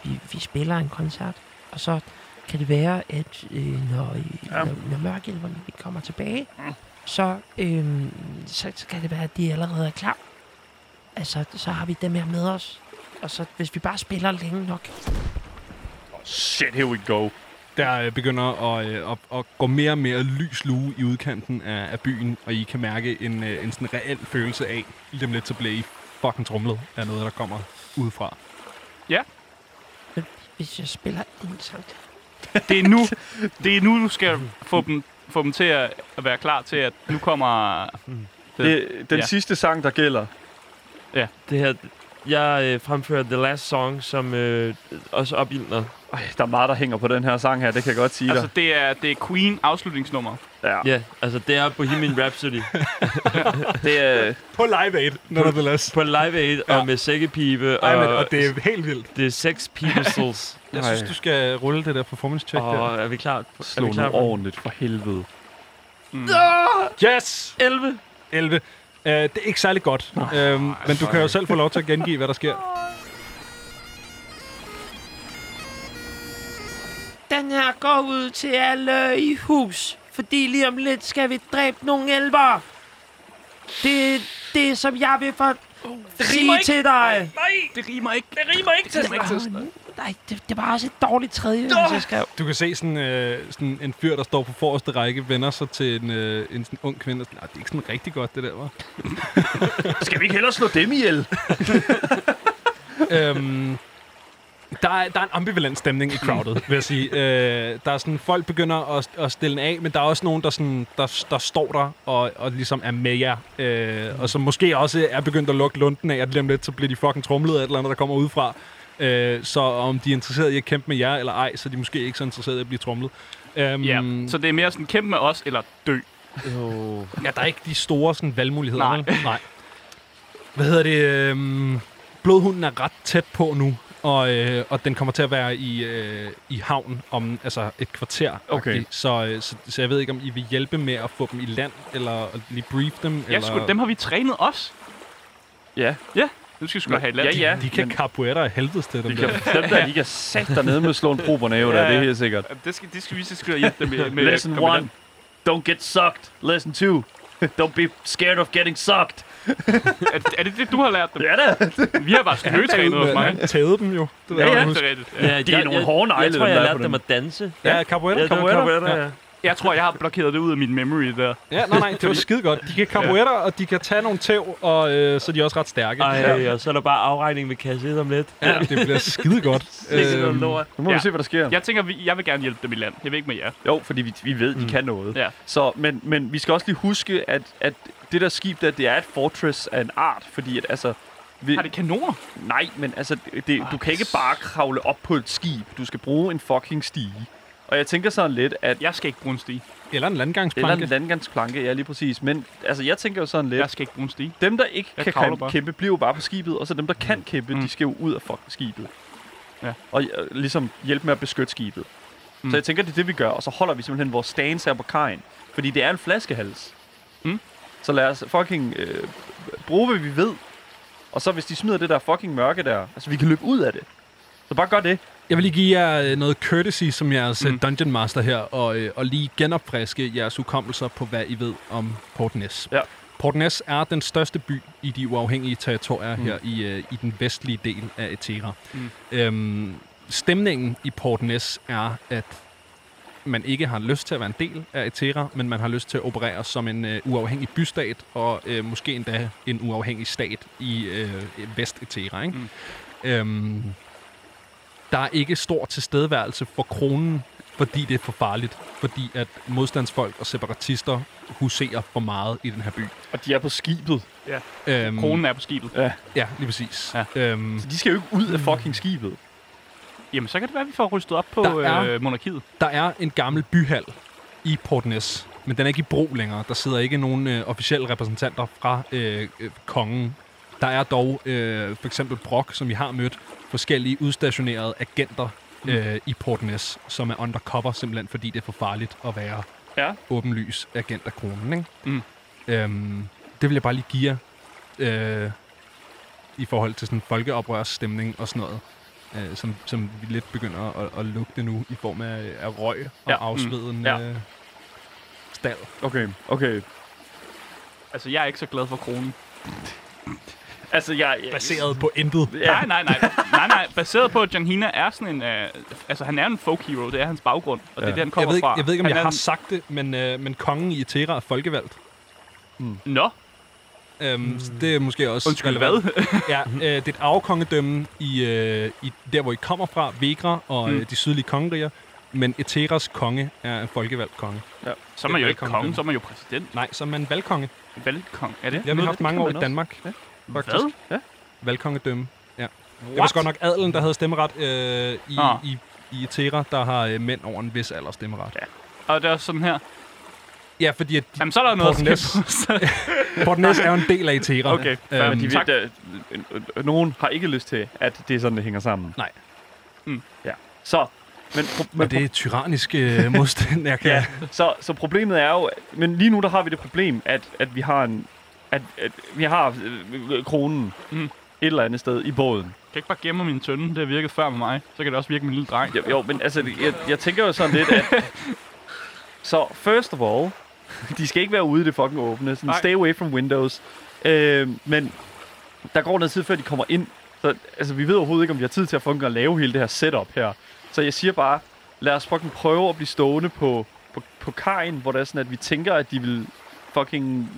vi, vi spiller en koncert, og så kan det være, at øh, når, ja. når, når mørkhjælperne de kommer tilbage, så, øh, så, så kan det være, at de allerede er klar. Altså, så har vi dem her med os. Og så, hvis vi bare spiller længe nok, Shit, here we go. der øh, begynder at, øh, at, at gå mere og mere lys lue i udkanten af, af byen, og I kan mærke en, øh, en sådan reel følelse af, lige om lidt så bliver I fucking trumlet af noget, der kommer udefra. hvis jeg spiller en sang. Det er nu, det er nu du skal få dem, få dem til at, at være klar til, at nu kommer... Det, den Ja. sidste sang, der gælder. Det her, jeg øh, fremfører The Last Song, som øh, også opildner. Ej, der er meget, der hænger på den her sang her, det kan jeg godt sige Altså, det er, det er Queen afslutningsnummer. dig. Ja. Ja, yeah, altså det er Bohemian Rhapsody Det, er, På Live Aid, nevertheless. på Live Aid ja. og med sækkepibe og, Ej, men, og det er helt vildt. det er Sex Pistols. Jeg synes, du skal rulle det der performance check der. og er vi klar? Er Slå vi nu klar? ordentligt, for helvede. Yes! 11. 11. Uh, det er ikke særlig godt, øhm, men du kan jo selv få lov til at gengive, hvad der sker. Den her går ud til alle i hus, fordi lige om lidt skal vi dræbe nogle elver. Det er det, som jeg vil for sige ikke. til dig. Det rimer ikke. Det rimer ikke til rimer ikke til sådan. Nej, det, det var også et dårligt tredje, oh. jeg skrev. Du kan se sådan, øh, sådan en fyr, der står på forreste række, vender sig til en, øh, en sådan ung kvinde. og sådan, "Nå, det er ikke sådan rigtig godt, det der, var. Skal vi ikke hellere slå dem ihjel? øhm, der, er, der er en ambivalent stemning i crowdet, vil jeg sige. Øh, der er sådan, folk begynder at, at stille af, men der er også nogen, der, sådan, der, der står der og, og ligesom er med jer. Øh, og som måske også er begyndt at lukke lunden af, at lige om lidt, så bliver de fucking trumlet af et eller andet, der kommer udefra. Øh, så om de er interesserede i at kæmpe med jer eller ej, så er de måske ikke så interesserede i at blive trumlet. Øhm, Ja, mm. så det er mere sådan, kæmpe med os, eller dø. Oh. Ja, der er ikke de store sådan, valgmuligheder. Nej. vel? Nej. Hvad hedder det? Øhm, blodhunden er ret tæt på nu, og, øh, og den kommer til at være i, øh, i havn om altså et kvarter. Okay. Så, øh, så, så jeg ved ikke, om I vil hjælpe med at få dem i land, eller at lige brief dem. Ja, eller... sgu, dem har vi trænet os. Ja. Ja, nu skal vi sgu da have et land. Ja, ja. De kan men capoeira af helvedes til dem de der. kan, dem der, de kan sætte dernede med at slå en prober næve, ja, Ja, det er ja. helt sikkert. Det skal, det skal vi så skulle hjælpe dem [laughs] med. med Lesson med land. one. Don't get sucked. Lesson two. Don't be scared of getting sucked. Er, det- er det det, du har lært dem? Ja da. Vi har bare snøtrænet hos mig. Tæde dem jo. Det Ja, jeg ja. husker. Det er rigtigt. Ja, De er nogle hårde Jeg, negle, jeg tror, dem, jeg der er på lærte dem den. at danse. Ja, capoeira. Ja, det var capoeira, Ja. ja. Jeg tror, jeg har blokeret det ud af min memory der. ja, nej, nej, det var skide godt. De kan capoeira, og de kan tage nogle tæv, og øh, så er de også ret stærke. Ej, og så er der bare afregning med kasse 1 om lidt. Ja, det bliver Øhm, skide godt. Det er sådan noget lort. Nu må Ja. vi se, hvad der sker. Jeg tænker, vi- jeg vil gerne hjælpe dem i land. Jeg ved ikke med jer. Jo, fordi vi, vi ved, de kan noget. Mm. Ja. Så, men, men vi skal også lige huske, at, at det der skib der, det er et fortress af en art, fordi at, altså... Vi, Har det kanoner? Nej, men altså, det, du kan ikke bare kravle op på et skib. Du skal bruge en fucking stige. Og jeg tænker sådan lidt, at... Jeg skal ikke bruge en stige. Eller en Eller en landgangsplanke. landgangsplanke, ja lige præcis. Men altså, jeg tænker jo sådan lidt... Jeg skal ikke bruge en stige. Dem, der ikke Jeg kan kravler kæmpe, bare. kæmpe, bliver jo bare på skibet, og så dem, der kan kæmpe, Mm. de skal jo ud af fucking skibet. Ja. Og øh, ligesom hjælpe med at beskytte skibet. Mm. Så jeg tænker, det er det, vi gør, og så holder vi simpelthen vores stance her på kajen. Fordi det er en flaskehals. Mm. Så lad os fucking øh, bruge, hvad vi ved. Og så hvis de smider det der fucking mørke der, altså vi kan løbe ud af det. Så bare gør det. Jeg vil lige give jer øh, noget courtesy som jeres mm. Mm. Dungeon Master her, og, øh, og lige genopfriske jeres hukommelser på, hvad I ved om Port Ness. Ja. Port Ness er den største by i de uafhængige territorier mm. her i, øh, i den vestlige del af Etera. Mm. Mm. Øhm, stemningen i Port Ness er, at man ikke har lyst til at være en del af Etera, men man har lyst til at operere som en øh, uafhængig bystat, og øh, måske endda en uafhængig stat i øh, Vest-Etera. Ikke? Mm. Øhm, der er ikke stor tilstedeværelse for kronen, fordi det er for farligt. Fordi at modstandsfolk og separatister huserer for meget i den her by. Og de er på skibet. Øhm, Kronen er på skibet. Ja, lige præcis. Ja. Øhm, Så de skal jo ikke ud af fucking skibet. Jamen, så kan det være, at vi får rystet op på Der er- øh, monarkiet. der er en gammel byhal i Port Ness, men den er ikke i brug længere. Der sidder ikke nogen øh, officielle repræsentanter fra øh, øh, kongen. Der er dog øh, for eksempel Brock, som vi har mødt, forskellige udstationerede agenter øh, i Port Ness, som er undercover, simpelthen fordi det er for farligt at være Ja. åbenlys agent af kronen. Ikke? Mm. Øhm, det vil jeg bare lige give jer øh, i forhold til sådan folkeoprørsstemning og sådan noget øh, som, som vi lidt begynder at, at lugte nu i form af, af røg og Ja, ja, mm, afsveden ja. ja. øh, stald. Okay, okay. Altså, jeg er ikke så glad for kronen. Altså, jeg... jeg Baseret på intet. Ja. Nej, nej, nej. nej, nej. Baseret på, at John Hina er sådan en... Øh, altså, han er en folk hero. Det er hans baggrund, og ja. det er det, han Jeg kommer ved, ikke, fra. jeg ved ikke, om han jeg er har sagt det, men, øh, men kongen i Etera er folkevalgt. En... Nå, Øhm, mm. Det er måske også... undskyld, relevant. hvad? ja, øh, det er et afkongedømme i, øh, i der, hvor I kommer fra, Vegra og mm. Mm. øh, de sydlige kongeriger. Men Eteras konge er en folkevalgt konge. så er man jo ikke Velkommen konge, til. så er man jo præsident. Nej, så er man valgkonge. Valgkong, er det? Det har vi noget, haft det mange kan år i man også? Danmark. Ja. Hvad? Valgkongedømme. Det var godt nok adelen, der havde stemmeret øh, i, Ah. i, i Etera, der har øh, mænd over en vis alder stemmeret. Ja, Og det er også sådan her. ja fordi at de, Jamen, [laughs] så er der noget Porten Næs. skib. Port Næs er jo en del af Etera. Øhm, Okay, fair. Men de Tak. ved, at øh, øh, nogen har ikke lyst til, at det er sådan, det hænger sammen. Nej. Mm. Ja. Så Men, pro- Men men det er tyrannisk øh, [laughs] modstand, jeg kan. Ja, [laughs] så, så problemet er jo... Men lige nu, der har vi det problem, at, at vi har en... At, at vi har øh, øh, kronen Mm. mm. et eller andet sted i båden. Kan jeg ikke bare gemme min tønde? Det har virket før med mig. Så kan det også virke med min lille dreng. Jo, jo men altså, jeg, jeg tænker jo sådan lidt, at... så, first of all... De skal ikke være ude i det fucking åbne. Sådan, Nej. stay away from windows. Øh, men der går noget tid, før de kommer ind. Så altså, vi ved overhovedet ikke, om vi har tid til at fucking at lave hele det her setup her. Så jeg siger bare, lad os fucking prøve at blive stående på, på, på kajen, hvor det er sådan, at vi tænker, at de vil fucking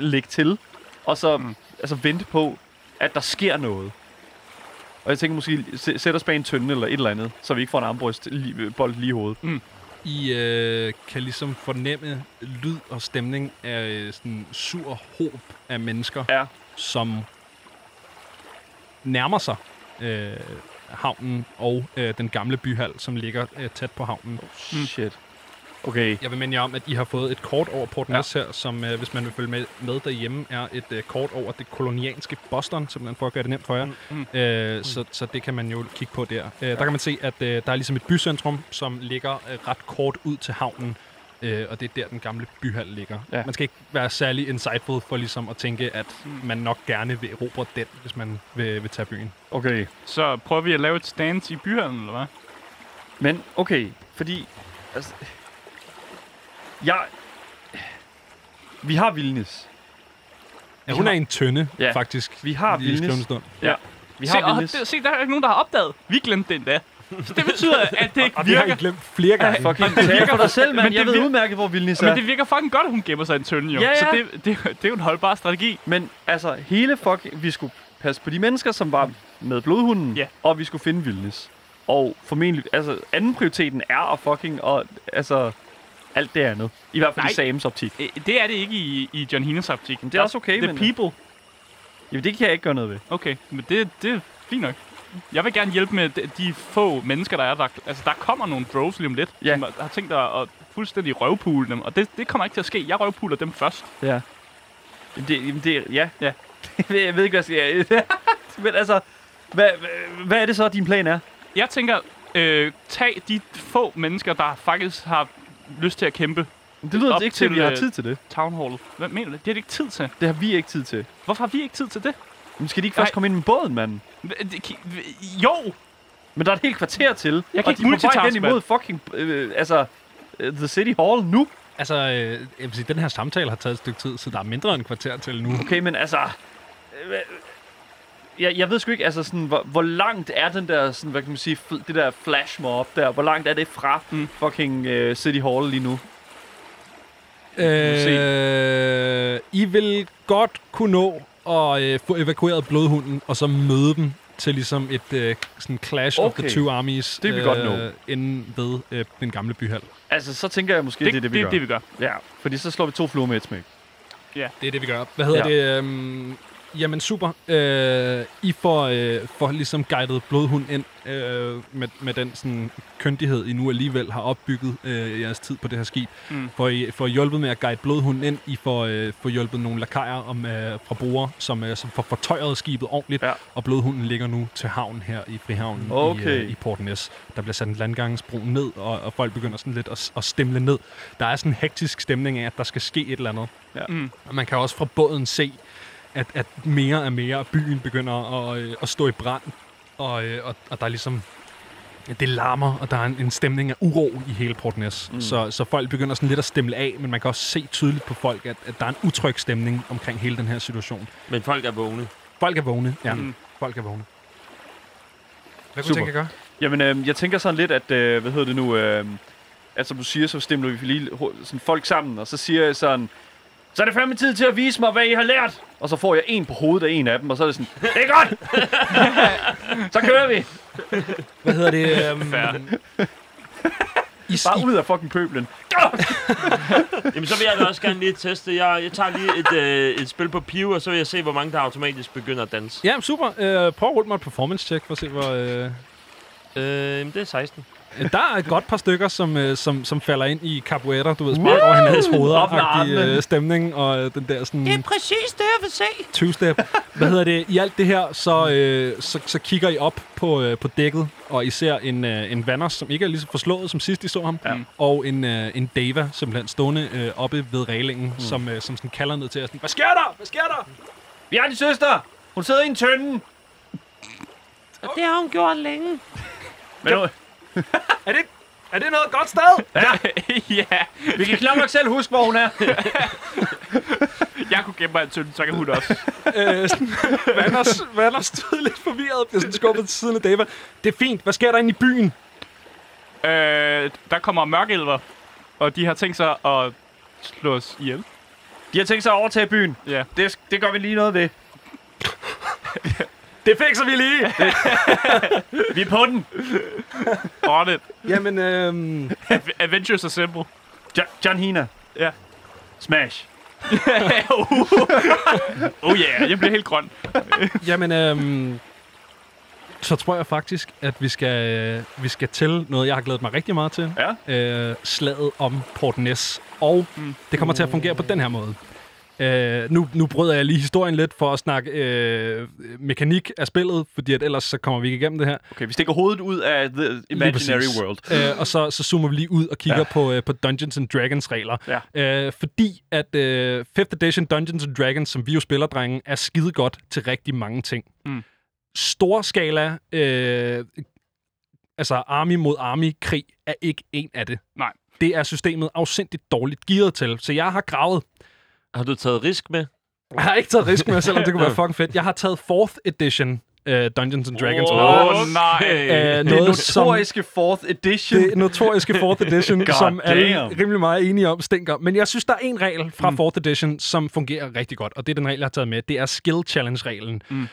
lægge til. Og så mm. altså, vente på, at der sker noget. Og jeg tænker måske, sæ- sæt os bag en tønde eller et eller andet, så vi ikke får en armbryst lige, øh, bold lige i hovedet. I øh, kan ligesom fornemme lyd og stemning af øh, sådan sur håb af mennesker, Ja. som nærmer sig øh, havnen og øh, den gamle byhal, som ligger øh, tæt på havnen. Oh, Shit. Okay. Jeg vil minde jer om, at I har fået et kort over Port Ness her, som, øh, hvis man vil følge med, med derhjemme, er et øh, kort over det kolonianske Boston, simpelthen for at gøre det nemt for jer. Mm. Øh, så, så det kan man jo kigge på der. Øh, der kan man se, at øh, der er ligesom et bycentrum, som ligger øh, ret kort ud til havnen, øh, og det er der, den gamle byhal ligger. Ja. Mm. Man skal ikke være særlig insightful for ligesom at tænke, at man nok gerne vil erobre den, hvis man vil, vil tage byen. Okay. Så prøver vi at lave et stand i byhallen, eller hvad? Men okay, fordi... Altså, jeg... Vi har Vilnis. Ja, hun er en tønde, Ja. faktisk. Vi har i Vilnius. skrivende stund. Vi se, har åh, Vilnis. [laughs] det, se, der er ikke nogen, der har opdaget. Vi glemte den da. Så det betyder, at det ikke Og det har virker. I glemt flere gange. Fucking tag for dig selv, men mand. Jeg det ved vir- udmærket, hvor Vilnis er. Men det virker fucking godt, at hun gemmer sig i en tønde, jo. Ja, Så ja. det, det, det er jo en holdbar strategi. Men altså, hele fuck... Vi skulle passe på de mennesker, som var med blodhunden. Ja. Og vi skulle finde Vilnis. Og formentlig... Altså, anden prioriteten er at fucking... Og, altså, alt det andet. I hvert fald Nej. i Sams optik. Øh, Det er det ikke i, i John Hinas optik. Men det er også okay, The men... people. Jamen, det kan jeg ikke gøre noget ved. Okay, men det, det er fint nok. Jeg vil gerne hjælpe med de- de få mennesker, der er der. Altså, der kommer nogle droves lige om lidt, Ja. som har tænkt at, at fuldstændig røvpule dem. Og det, det kommer ikke til at ske. Jeg røvpuler dem først. Ja. Jamen, Det, jamen, det, ja. Ja. [laughs] jeg ved ikke, hvad jeg skal... [laughs] Men altså, hvad, hvad, hvad er det så, din plan er? Jeg tænker, øh, tag de få mennesker, der faktisk har lyst til at kæmpe Det lyder altså Op ikke til, at vi til, har øh, tid til det. Town Hall. Hvad mener du? Det har de ikke tid til. Det har vi ikke tid til. Hvorfor har vi ikke tid til det? Men skal de ikke Nej. først komme ind med båden, mand? Hva- det ki- hva- Jo! Men der er et helt kvarter til. Jeg kan og ikke de er på vej multitaske, hen imod fucking... Øh, altså, øh, The City Hall nu. Altså, øh, jeg vil sige, den her samtale har taget et stykke tid, så der er mindre end en kvarter til nu. Okay, men altså... øh, øh, Jeg, jeg ved sgu ikke, altså sådan, hvor, hvor langt er den der, sådan, hvad kan man sige, fl- det der flash mob der, hvor langt er det fra Mm. fucking øh, City Hall lige nu? Øh, I vil godt kunne nå at øh, få evakueret blodhunden, og så møde dem til ligesom et øh, sådan clash okay. of the Okay. two armies. Det vil vi godt nå. Inden ved øh, den gamle byhal. Altså, så tænker jeg måske, det, det er det, vi det, gør. det, vi gør. Ja, fordi så slår vi to fluer med et smæk. Det er det, vi gør. Hvad hedder ja. det? Øhm, jamen, super. Øh, I får, øh, får ligesom guidet blodhund ind øh, med, med den sådan, køndighed, I nu alligevel har opbygget øh, jeres tid på det her skib. Mm. Mm. For I får hjulpet med at guide blodhunden ind. I får, øh, får hjulpet nogle lakajer om, øh, fra bruger, som, øh, som får fortøjet skibet ordentligt. Ja. Ja. Og blodhunden ligger nu til havn her i Frihavnen Okay. i, øh, i Port Næs. Der bliver sat en landgangsbro ned, og, og folk begynder sådan lidt at, s- at stemle ned. Der er sådan en hektisk stemning af, at der skal ske et eller andet. Og man kan også fra båden se, at, at mere og mere af byen begynder at, øh, at stå i brand. Og, øh, og, og der er ligesom... Det larmer, og der er en, en stemning af uro i hele Port Næs. Mm. Så, så folk begynder sådan lidt at stemme af, men man kan også se tydeligt på folk, at, at der er en utryg stemning omkring hele den her situation. Men folk er vågne. Folk er vågne. Ja, Mm. mm. folk er vågne. Hvad kunne Super. du tænke at gøre? Jamen, øh, jeg tænker sådan lidt, at, øh, hvad hedder det nu, øh, at som du siger, så stemmer vi lige ho- sådan folk sammen, og så siger jeg sådan, så er det fandme tid til at vise mig, hvad I har lært. Og så får jeg en på hovedet af en af dem, og så er det sådan, det er godt! [laughs] så kører vi! Hvad hedder [laughs] det? Um, I, Bare I, ud af fucking pøblen. Jamen, så vil jeg da også gerne lige teste. Jeg, jeg tager lige et, øh, et spil på Pio, og så vil jeg se, hvor mange der automatisk begynder at danse. Øh, ja, super. Uh, prøv at rulle mig et performance check for at se, hvor... Uh, Øh, men det er 16. Der er et godt par stykker, som, øh, som, som falder ind i capoeira, du ved, spark over hinandens hoveder, øh, stemning og øh, den der Det er sådan præcis det, jeg vil se. 20-step. Hvad hedder det? I alt det her, så, øh, så, så kigger I op på, øh, på dækket, og I ser en, øh, en Vanners, som ikke er lige så forslået, som sidst I så ham, ja. og en, øh, en Dava, simpelthen stående øh, oppe ved reglingen, mm. som, øh, som sådan kalder ned til jer. Sådan, Hvad sker der? Hvad sker der? Vi har din søster! Hun sidder i en tønde! Og det har hun gjort længe. Men nu, Er det, er det noget godt [laughs] sted? ja, vi kan knap nok selv huske, hvor hun er. jeg kunne gemme mig en tynde, så kan [laughs] hun også. Øh, sådan, [laughs] Vanders, Vanders stod lidt forvirret og bliver sådan skubbet til siden af Dava. Det er fint. Hvad sker der inde i byen? øh, der kommer mørkelver, og de har tænkt sig at slå os ihjel. De har tænkt sig at overtage byen. Ja. Det, det gør vi lige noget ved. Det fikser vi lige. Vi er på den. On it. Jamen, øhm, Adventures are [laughs] simple. Jo- John Hina. Ja. Smash. [laughs] Uh. Oh yeah, jeg bliver helt grøn. jamen øhm, så tror jeg faktisk, at vi skal, øh, vi skal til noget, jeg har glædet mig rigtig meget til. Ja. Øh, slaget om Port Ness. Og mm. det kommer til at fungere på den her måde. Øh, nu, nu bryder jeg lige historien lidt for at snakke øh, mekanik af spillet, fordi at ellers så kommer vi ikke igennem det her. Okay, vi stikker hovedet ud af The Imaginary World. Øh, og så, så zoomer vi lige ud og kigger ja. på, øh, på Dungeons and Dragons regler. Ja. Øh, fordi at øh, 5th edition Dungeons and Dragons, som vi jo spiller, drenge, er skide godt til rigtig mange ting. Mm. Storskala, øh, altså army mod army krig, er ikke en af det. Nej. Det er systemet afsindigt dårligt gearet til. Så jeg har gravet Har du taget risk med? jeg har ikke taget risk med, selvom det kunne være fucking fedt. Jeg har taget 4th edition uh, Dungeons and Dragons med. Åh oh, [laughs] nej. Øh, Det noget, som notoriske 4th edition. det notoriske 4th edition, God som alle damn. rimelig meget enige om stinker. Men jeg synes, der er en regel fra 4th edition, som fungerer rigtig godt, og det er den regel, jeg har taget med. Det er skill challenge-reglen. Mm.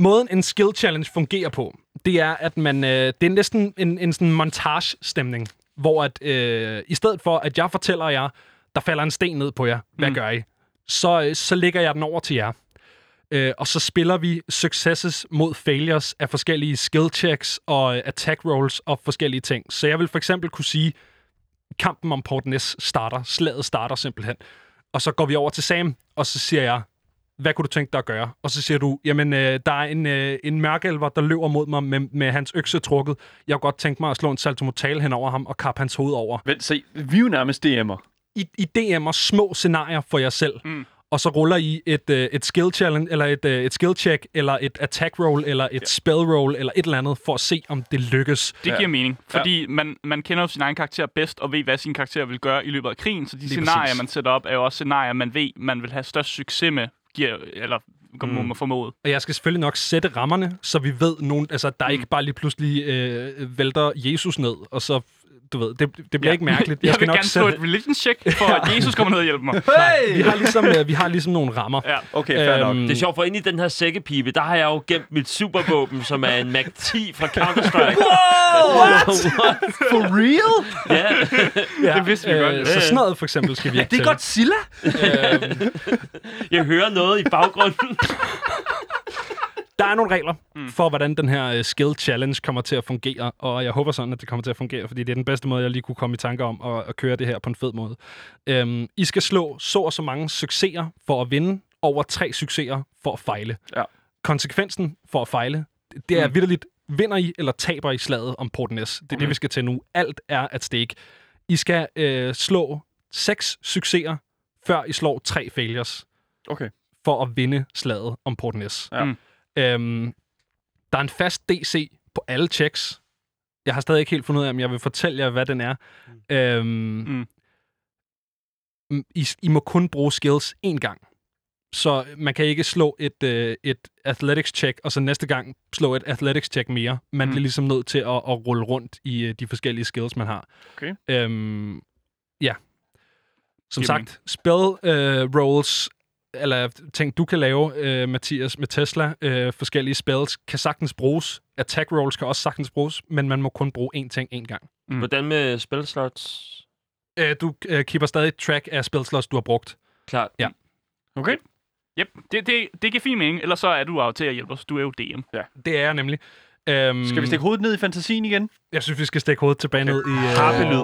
Måden en skill challenge fungerer på, det er, at man øh, det er næsten en, en sådan montage-stemning, hvor at, øh, i stedet for, at jeg fortæller jer, der falder en sten ned på jer, hvad mm. gør I? Så, øh, så lægger jeg den over til jer. Øh, og så spiller vi successes mod failures af forskellige skill checks og øh, attack rolls og forskellige ting. Så jeg vil for eksempel kunne sige, kampen om Port Ness starter, slaget starter simpelthen. Og så går vi over til Sam, og så siger jeg, hvad kunne du tænke dig at gøre? Og så siger du, jamen, øh, der er en, øh, en mørkelver, der løber mod mig med, med hans økse trukket. Jeg kunne godt tænke mig at slå en saltomortal hen over ham og kappe hans hoved over. Vent, se, vi er jo nærmest DM'er. I, I DM'er små scenarier for jer selv, mm. og så ruller I et, øh, et skill challenge, eller et, øh, et skill check, eller et attack roll, eller et ja. spell roll, eller et eller andet, for at se, om det lykkes. Det giver mening, fordi man, man kender jo sin egen karakter bedst, og ved, hvad sin karakter vil gøre i løbet af krigen, så de Lige scenarier, præcis. man sætter op, er jo også scenarier, man ved, man vil have størst succes med, giver, eller kommer mm. formået. Og jeg skal selvfølgelig nok sætte rammerne, så vi ved, nogen, altså, der mm. ikke bare lige pludselig øh, vælter Jesus ned, og så, du ved, det, det bliver ja. ikke mærkeligt. [laughs] Jeg, jeg vil gerne slå et religion check, for [laughs] at Jesus kommer ned og hjælper mig. Nej, vi, har ligesom, øh, vi har ligesom nogle rammer. Øhm, Ja. Okay, fair nok. Det er sjovt, for inde i den her sækkepipe, der har jeg jo gemt mit supervåben, som er en Mac 10 fra Counter-Strike. What? For real? Ja, ja, det vidste vi godt. øh, Så sådan noget for eksempel skal vi ikke Det er til. Godzilla? [laughs] jeg hører noget i baggrunden. Der er nogle regler Mm. for, hvordan den her øh, skill challenge kommer til at fungere, og jeg håber sådan, at det kommer til at fungere, fordi det er den bedste måde, jeg lige kunne komme i tanke om at, at køre det her på en fed måde. Øhm, I skal slå så og så mange succeser for at vinde, over tre succeser for at fejle. Ja. Konsekvensen for at fejle, det er mm. vidderligt, vinder I eller taber I slaget om Port Ness. Det er Mm. det, vi skal til nu. Alt er at stake. I skal øh, slå seks succeser, før I slår tre failures Okay. for at vinde slaget om Port Ness. Ja. Mm. Øhm, der er en fast DC på alle checks. Jeg har stadig ikke helt fundet ud af, om jeg vil fortælle jer, hvad den er. Øhm, mm. I, I må kun bruge skills én gang. Så man kan ikke slå et, øh, et athletics check, og så næste gang slå et athletics check mere. Man Mm. mm. bliver ligesom nødt til at, at rulle rundt i øh, de forskellige skills, man har. Okay. Øhm, ja. Som Giver sagt, spell øh, rolls, eller ting, du kan lave, øh, Mathias, med Tesla, øh, forskellige spells, kan sagtens bruges. Attack rolls kan også sagtens bruges, men man må kun bruge én ting én gang. Hvordan med spilslots? Øh, du øh, keeper stadig track af spellslots, du har brugt. Klart. Ja. Okay. Yep. Det, det, det giver fin mening, ellers så er du jo til at hjælpe os. Du er jo DM. Det er jeg nemlig. Øhm, Skal vi stikke hovedet ned i fantasien igen? Jeg synes, vi skal stikke hovedet tilbage ned i... Øh, Harpelyd.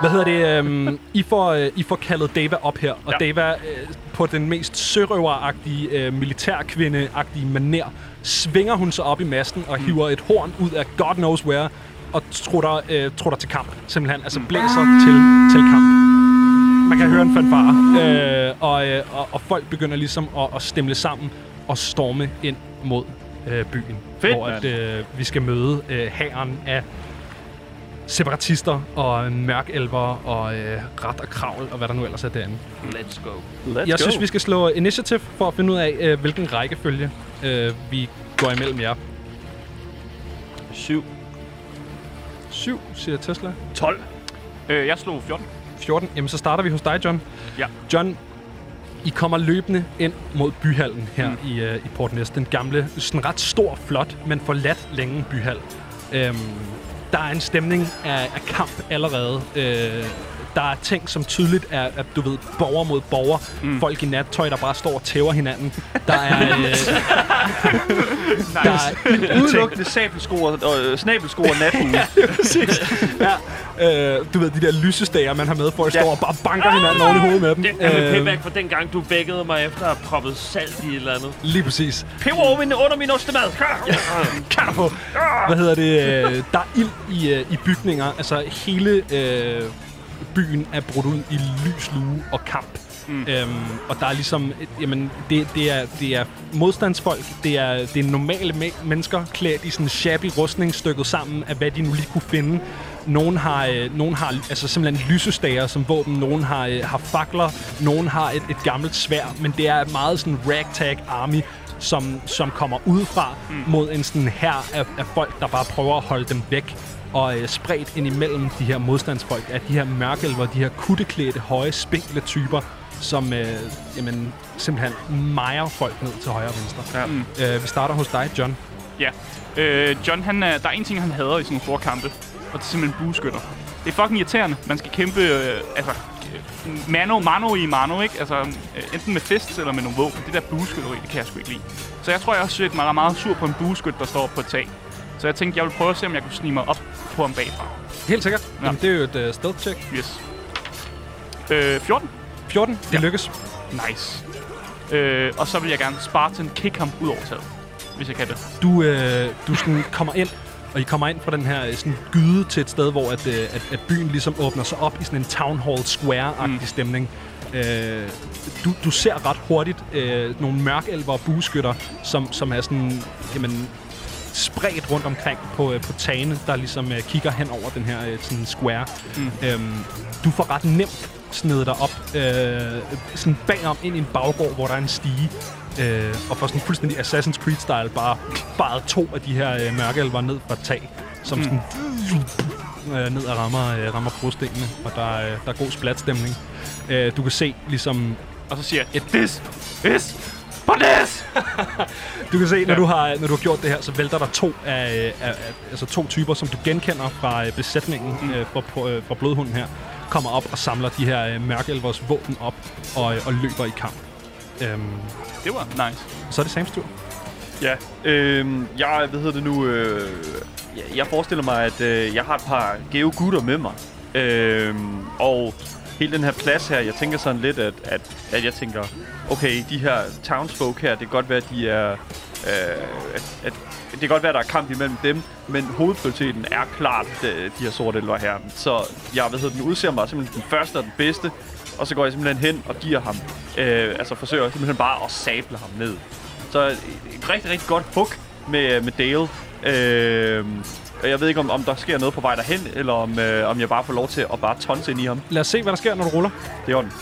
Hvad hedder det? Øhm, I, får, øh, I får kaldet Dava op her, og Ja. ja. Dava øh, på den mest sørøveragtige, øh, militærkvindeagtige maner, svinger hun sig op i masten Mm. og hiver et horn ud af God knows where, og trutter, øh, trutter til kamp, simpelthen. Mm. Altså blæser til, til kamp. Man kan høre en fanfare, øh, og, øh, og, og folk begynder ligesom at, at stemle sammen og storme ind mod øh, byen. Fedt, hvor at, mand. øh, vi skal møde øh, hæren af separatister og mørkelver og øh, ret og kravl og hvad der nu ellers er derinde. Let's go. Let's Jeg go. synes, vi skal slå initiative for at finde ud af, øh, hvilken rækkefølge øh, vi går imellem jer. 7. 7, siger Tesla. 12. Øh, jeg slog 14. 14. Jamen, så starter vi hos dig, John. Ja. John, I kommer løbende ind mod byhallen her mm. i, øh, i Port Næst. Den gamle, sådan ret stor, flot, men forladt længe byhal. Øhm, der er en stemning af, af kamp allerede. Øh, der er ting, som tydeligt er, at du ved, borger mod borger. Mm. Folk i nattøj, der bare står og tæver hinanden. Der er... [laughs] Øh, der er Udelukkende sabelsko og, og øh, snabelsko og natten. [laughs] øh, du ved, de der lysestager, man har med, folk står og bare banker hinanden oven i hovedet med dem. Øhm. Øh, Det er med payback for den gang, du vækkede mig efter at have proppet salt i et eller andet. lige præcis. Peber over min, under min ostemad. kan du få. Hvad hedder det? øh, Der er ild i, øh, i bygninger. Altså hele øh, byen er brudt ud i lys lue og kamp. Mm. Øhm, og der er ligesom, øh, jamen, det, det, er, det er modstandsfolk, det er, det er normale me- mennesker klædt i sådan shabby rustning stykket sammen af, hvad de nu lige kunne finde. Nogen har, øh, nogen har altså simpelthen lysestager som våben, nogen har, øh, har fakler, nogen har et, et gammelt svær, men det er meget sådan ragtag army, som, som kommer udefra mm. mod en sådan her af, af folk, der bare prøver at holde dem væk. Og øh, spredt ind imellem de her modstandsfolk er de her mørkelver, de her kutteklædte, høje, spinkle typer, som øh, jamen, simpelthen mejer folk ned til højre og venstre. Ja. Mm. Øh, vi starter hos dig, John. Ja. Øh, John, han, er- der er en ting, han hader i sådan nogle store kampe, og det er simpelthen bueskytter. Det er fucking irriterende. Man skal kæmpe, øh, altså, øh, mano, mano i mano, ikke? Altså, øh, enten med fists eller med nogle våben. Det der bueskytteri, det kan jeg sgu ikke lide. Så jeg tror, jeg har søgt mig meget sur på en bueskyt, der står på et tag. Så jeg tænkte, jeg ville prøve at se, om jeg kunne snige mig op på ham bagfra. Helt sikkert. Ja. Jamen, det er jo et øh, stealth check. Yes. Øh, 14. 14, det ja. lykkes. Nice. Øh, og så vil jeg gerne Spartan kick ham ud over taget, hvis jeg kan det. du, øh, du sådan kommer ind, og I kommer ind fra den her øh, sådan gyde til et sted, hvor at, øh, at, at byen ligesom åbner sig op i sådan en town hall square-agtig mm. stemning. Øh, du, du ser ret hurtigt øh, nogle mørkelver og bueskytter, som, som er sådan, jamen, spredt rundt omkring på, øh, på tagene, der ligesom øh, kigger hen over den her øh, sådan square. Mm. Øhm, du får ret nemt snedet dig op øh, sådan bagom ind i en baggård, hvor der er en stige, øh, og får sådan fuldstændig Assassin's Creed-style bare bare to af de her øh, mørkeelver ned fra et tag, som mm. sådan øh, ned og rammer, øh, rammer brostenene, og der, er, øh, der er god splatstemning. Øh, du kan se ligesom Og så siger jeg, "It this is for this! Du kan se, når, du har, når du har gjort det her, så vælter der to af, af, af altså to typer, som du genkender fra øh, besætningen mm. øh, fra, på, øh, fra blodhunden her, kommer op og samler de her øh, mørkelvers våben op og, øh, og løber i kamp. Øhm, Det var nice. så er det Sams tur. Ja, øhm, jeg, hvad hedder det nu, øh, jeg, jeg forestiller mig, at øh, jeg har et par gave gutter med mig. Øhm, og hele den her plads her, jeg tænker sådan lidt, at, at, at jeg tænker, okay, de her townsfolk her, det kan godt være, at de er, øh, at, at, det kan godt være, at der er kamp imellem dem, men hovedprioriteten er klart øh, de her sorte elver her. Så jeg, hvad hedder den, udser mig simpelthen den første og den bedste, og så går jeg simpelthen hen og giver ham, øh, altså forsøger simpelthen bare at sable ham ned. Så et et rigtig, rigtig godt hook med, med Dale. Øh, jeg ved ikke, om, om der sker noget på vej derhen, eller om, øh, om jeg bare får lov til at bare tonse ind i ham. Lad os se, hvad der sker, når du ruller. Det er ånden.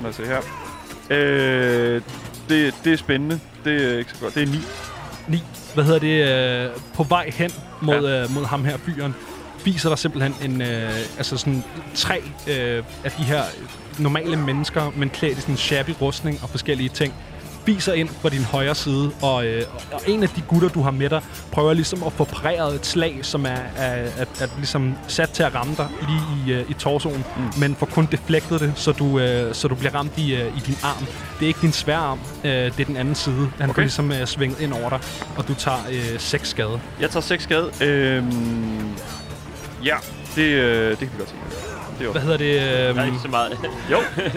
Lad os se her. Øh, det, det er spændende. Det er ikke så godt. Det er 9. 9, hvad hedder det, øh, på vej hen mod, ja. øh, mod ham her, fyren, viser der simpelthen en, øh, altså sådan tre øh, af de her normale mennesker, men klædt i sådan shabby rustning og forskellige ting, fiser ind fra din højre side, og, øh, og en af de gutter, du har med dig, prøver ligesom at få præret et slag, som er, er, er, er ligesom sat til at ramme dig lige i, øh, i torsoen, mm. men får kun deflektet det, så du, øh, så du bliver ramt i, øh, i din arm. Det er ikke din svære arm, øh, det er den anden side. Han okay. får ligesom øh, svinget ind over dig, og du tager øh, seks skade. Jeg tager 6 skade. Øhm, ja, det, øh, det kan vi godt tænke. mig. Det er Hvad hedder det? Øh, Der er ikke så meget. Jo,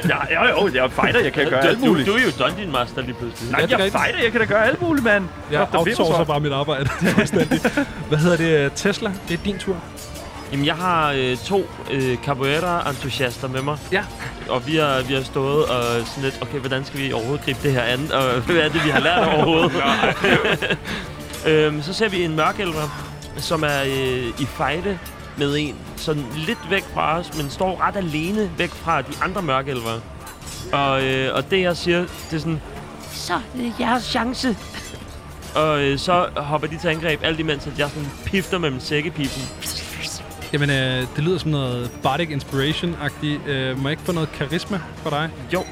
ja, jo, jo, jeg er fighter, [laughs] jeg kan gøre alt du, muligt. du, er jo Dungeon Master lige pludselig. Nej, Ja, det er jeg er rigtigt. fighter, jeg kan da gøre alt muligt, mand. jeg Dr. outsourcer Vippersvamp. bare mit arbejde [laughs] fuldstændig. Hvad hedder det? øh, Tesla, det er din tur. Jamen, jeg har øh, to øh, Capoeira-entusiaster med mig. Ja. Og vi har, vi har stået og sådan lidt, okay, hvordan skal vi overhovedet gribe det her an? Og [laughs] hvad er det, vi har lært overhovedet? [laughs] øhm, så ser vi en mørkælder, som er øh, i fejde med en sådan lidt væk fra os, men står ret alene væk fra de andre mørkælver. Og, øh, og det, jeg siger, det er sådan, øh, Så er det jeres chance. [laughs] og øh, så hopper de til angreb, alt imens at jeg sådan pifter med min sækkepipen. Jamen, øh, det lyder som noget Bardic Inspiration-agtigt. Øh, må jeg ikke få noget karisma for dig? Jo.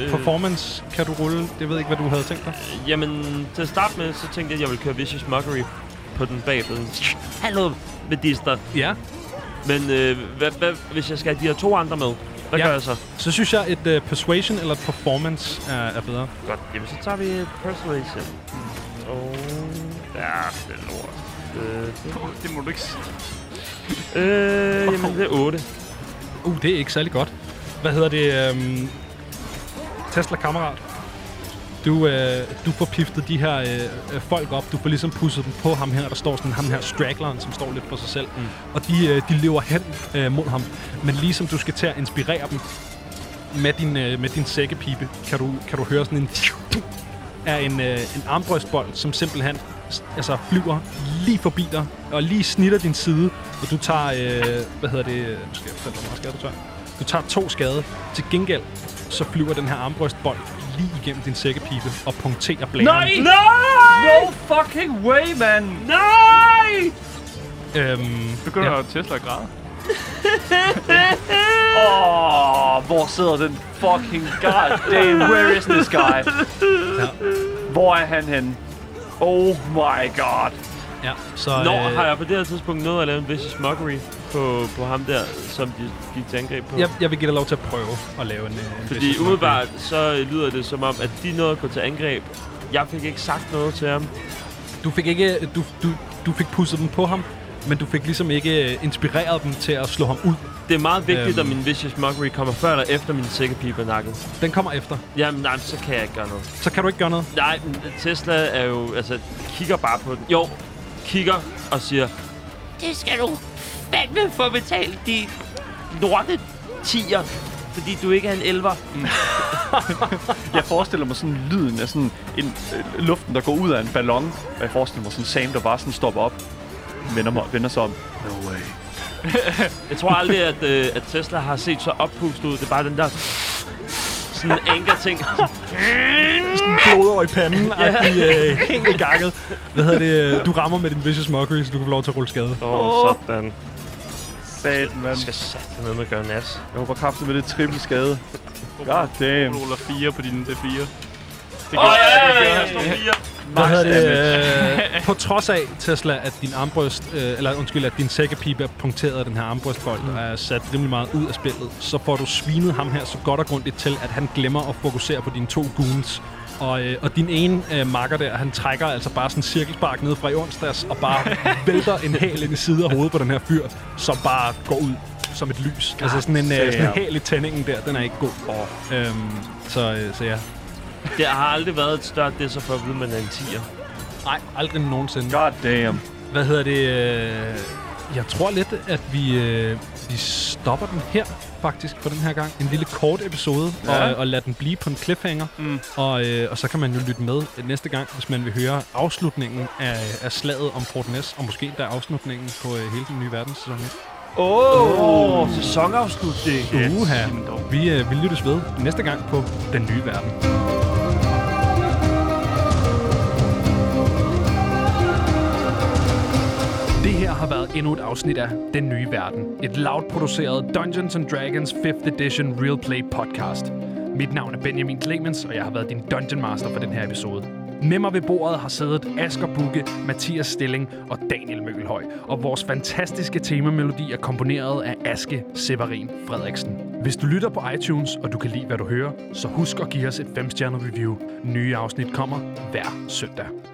Øh, Performance kan du rulle. Det ved jeg ikke, hvad du havde tænkt dig. Jamen, til at starte med, så tænkte jeg, at jeg ville køre Vicious Mockery på den bagved. Hallo, medister. Ja. Men øh, hvad, hvad, hvis jeg skal have de her to andre med, hvad Ja. ja. gør jeg så? Så synes jeg, et øh, Persuasion eller et Performance er, er bedre. Godt, jamen så tager vi øh, Persuasion. Og... Ja, det er lort. Øh, Åh, Det må du ikke sige. øh, jamen, det er 8. Uh, det er ikke særlig godt. Hvad hedder det? Øh, Tesla-kammerat. Du, øh, du får piftet de her øh, øh, folk op. Du får ligesom pusset dem på ham her. Der står sådan ham her straggleren, som står lidt for sig selv. Mm. Og de, øh, de lever hen øh, mod ham. Men ligesom du skal til at inspirere dem med din, øh, med din sækkepipe, kan du, kan du høre sådan en af en, øh, en armbrøstbold, som simpelthen s- altså, flyver lige forbi dig, og lige snitter din side, og du tager, øh, hvad hedder det, øh, nu skal jeg fortælle dig, hvor meget skade du tager. Du tager to skade. Til gengæld, så flyver den her armbrøstbold lige igennem din sækkepipe og punkterer blæren. Nej! Nej! No fucking way, mand! Nej! Øhm, Begynder ja. Tesla at græde. Åh, oh, hvor sidder den fucking god damn, where is this guy? Hvor er han henne? Oh my god. ja, så... øh, Nå, har jeg på det her tidspunkt nået at lave en Vicious Mockery på, på ham der, som de gik til angreb på? jeg, jeg vil give dig lov til at prøve at lave en... øh, en Fordi business umiddelbart, så lyder det som om, at de nåede at gå til angreb. Jeg fik ikke sagt noget til ham. Du fik ikke... Du, du, du fik pusset dem på ham, men du fik ligesom ikke øh, inspireret dem til at slå ham ud. Det er meget vigtigt, Øhm. øhm. at min Vicious Mockery kommer før eller efter min sækkepipe er nakket. Den kommer efter. Jamen, nej, så kan jeg ikke gøre noget. Så kan du ikke gøre noget. Nej, men Tesla er jo... Altså, kigger bare på den. Jo, kigger og siger... Det skal du fandme få betalt, de Lorte tiger, fordi du ikke er en elver. Jeg forestiller mig sådan lyden af sådan en, øh, luften, der går ud af en ballon. Og jeg forestiller mig sådan Sam, der bare sådan stopper op. Vender, mig, vender sig om. No way. Jeg tror aldrig, [laughs] at, øh, at Tesla har set så oppustet ud. Det er bare den der... Sådan en anker-ting. blodår i panden, og de [laughs] er øh, helt i gakket. Hvad hedder det? øh, Du rammer med din Vicious Mockery, så du kan få lov til at rulle skade. [laughs] Åh, oh, sådan. Satan, mand. Jeg skal sætte ned med at gøre nas. Jeg håber kraftigt med det triple skade. God damn. Du ruller 4 på din D4. Det Åh, ja, det ja, gør- ja, ja. Hvad hedder det? Øh, på trods af, Tesla, at din armbrøst, øh, eller undskyld, at din sækkepipe er punkteret af den her armbrøstbold, og er sat rimelig meget ud af spillet, så får du svinet ham her så godt og grundigt til, at han glemmer at fokusere på dine to goons. Og, øh, og din ene øh, makker der, han trækker altså bare sådan en cirkelspark ned fra i onsdags, og bare vælter en hæl ind i side af hovedet på den her fyr, som bare går ud som et lys. altså sådan en, øh, sådan en hæl i tændingen der, den er ikke god. Øhm, så, øh, så ja. Det har aldrig været et større det, så for at vide, man er en tiger. Nej, aldrig nogensinde. God damn. Hvad hedder det? øh, Jeg tror lidt, at vi, øh, vi stopper den her, faktisk, for den her gang. En lille kort episode, ja. og, og lader den blive på en cliffhanger. Mm. Og, øh, og så kan man jo lytte med næste gang, hvis man vil høre afslutningen af, af slaget om Port Ness, og måske der afslutningen på øh, hele den nye verdenssæson. Åh, oh, sæsonafslutning. Yes. Uha. Vi, øh, vi lyttes ved næste gang på Den Nye Verden. Det her har været endnu et afsnit af Den Nye Verden. Et loud produceret Dungeons and Dragons 5th Edition Real Play podcast. Mit navn er Benjamin Clemens, og jeg har været din Dungeon Master for den her episode. Med mig ved bordet har siddet Asger Bugge, Mathias Stilling og Daniel Møgelhøj. Og vores fantastiske temamelodi er komponeret af Aske Severin Frederiksen. Hvis du lytter på iTunes, og du kan lide, hvad du hører, så husk at give os et 5-stjernet review. Nye afsnit kommer hver søndag.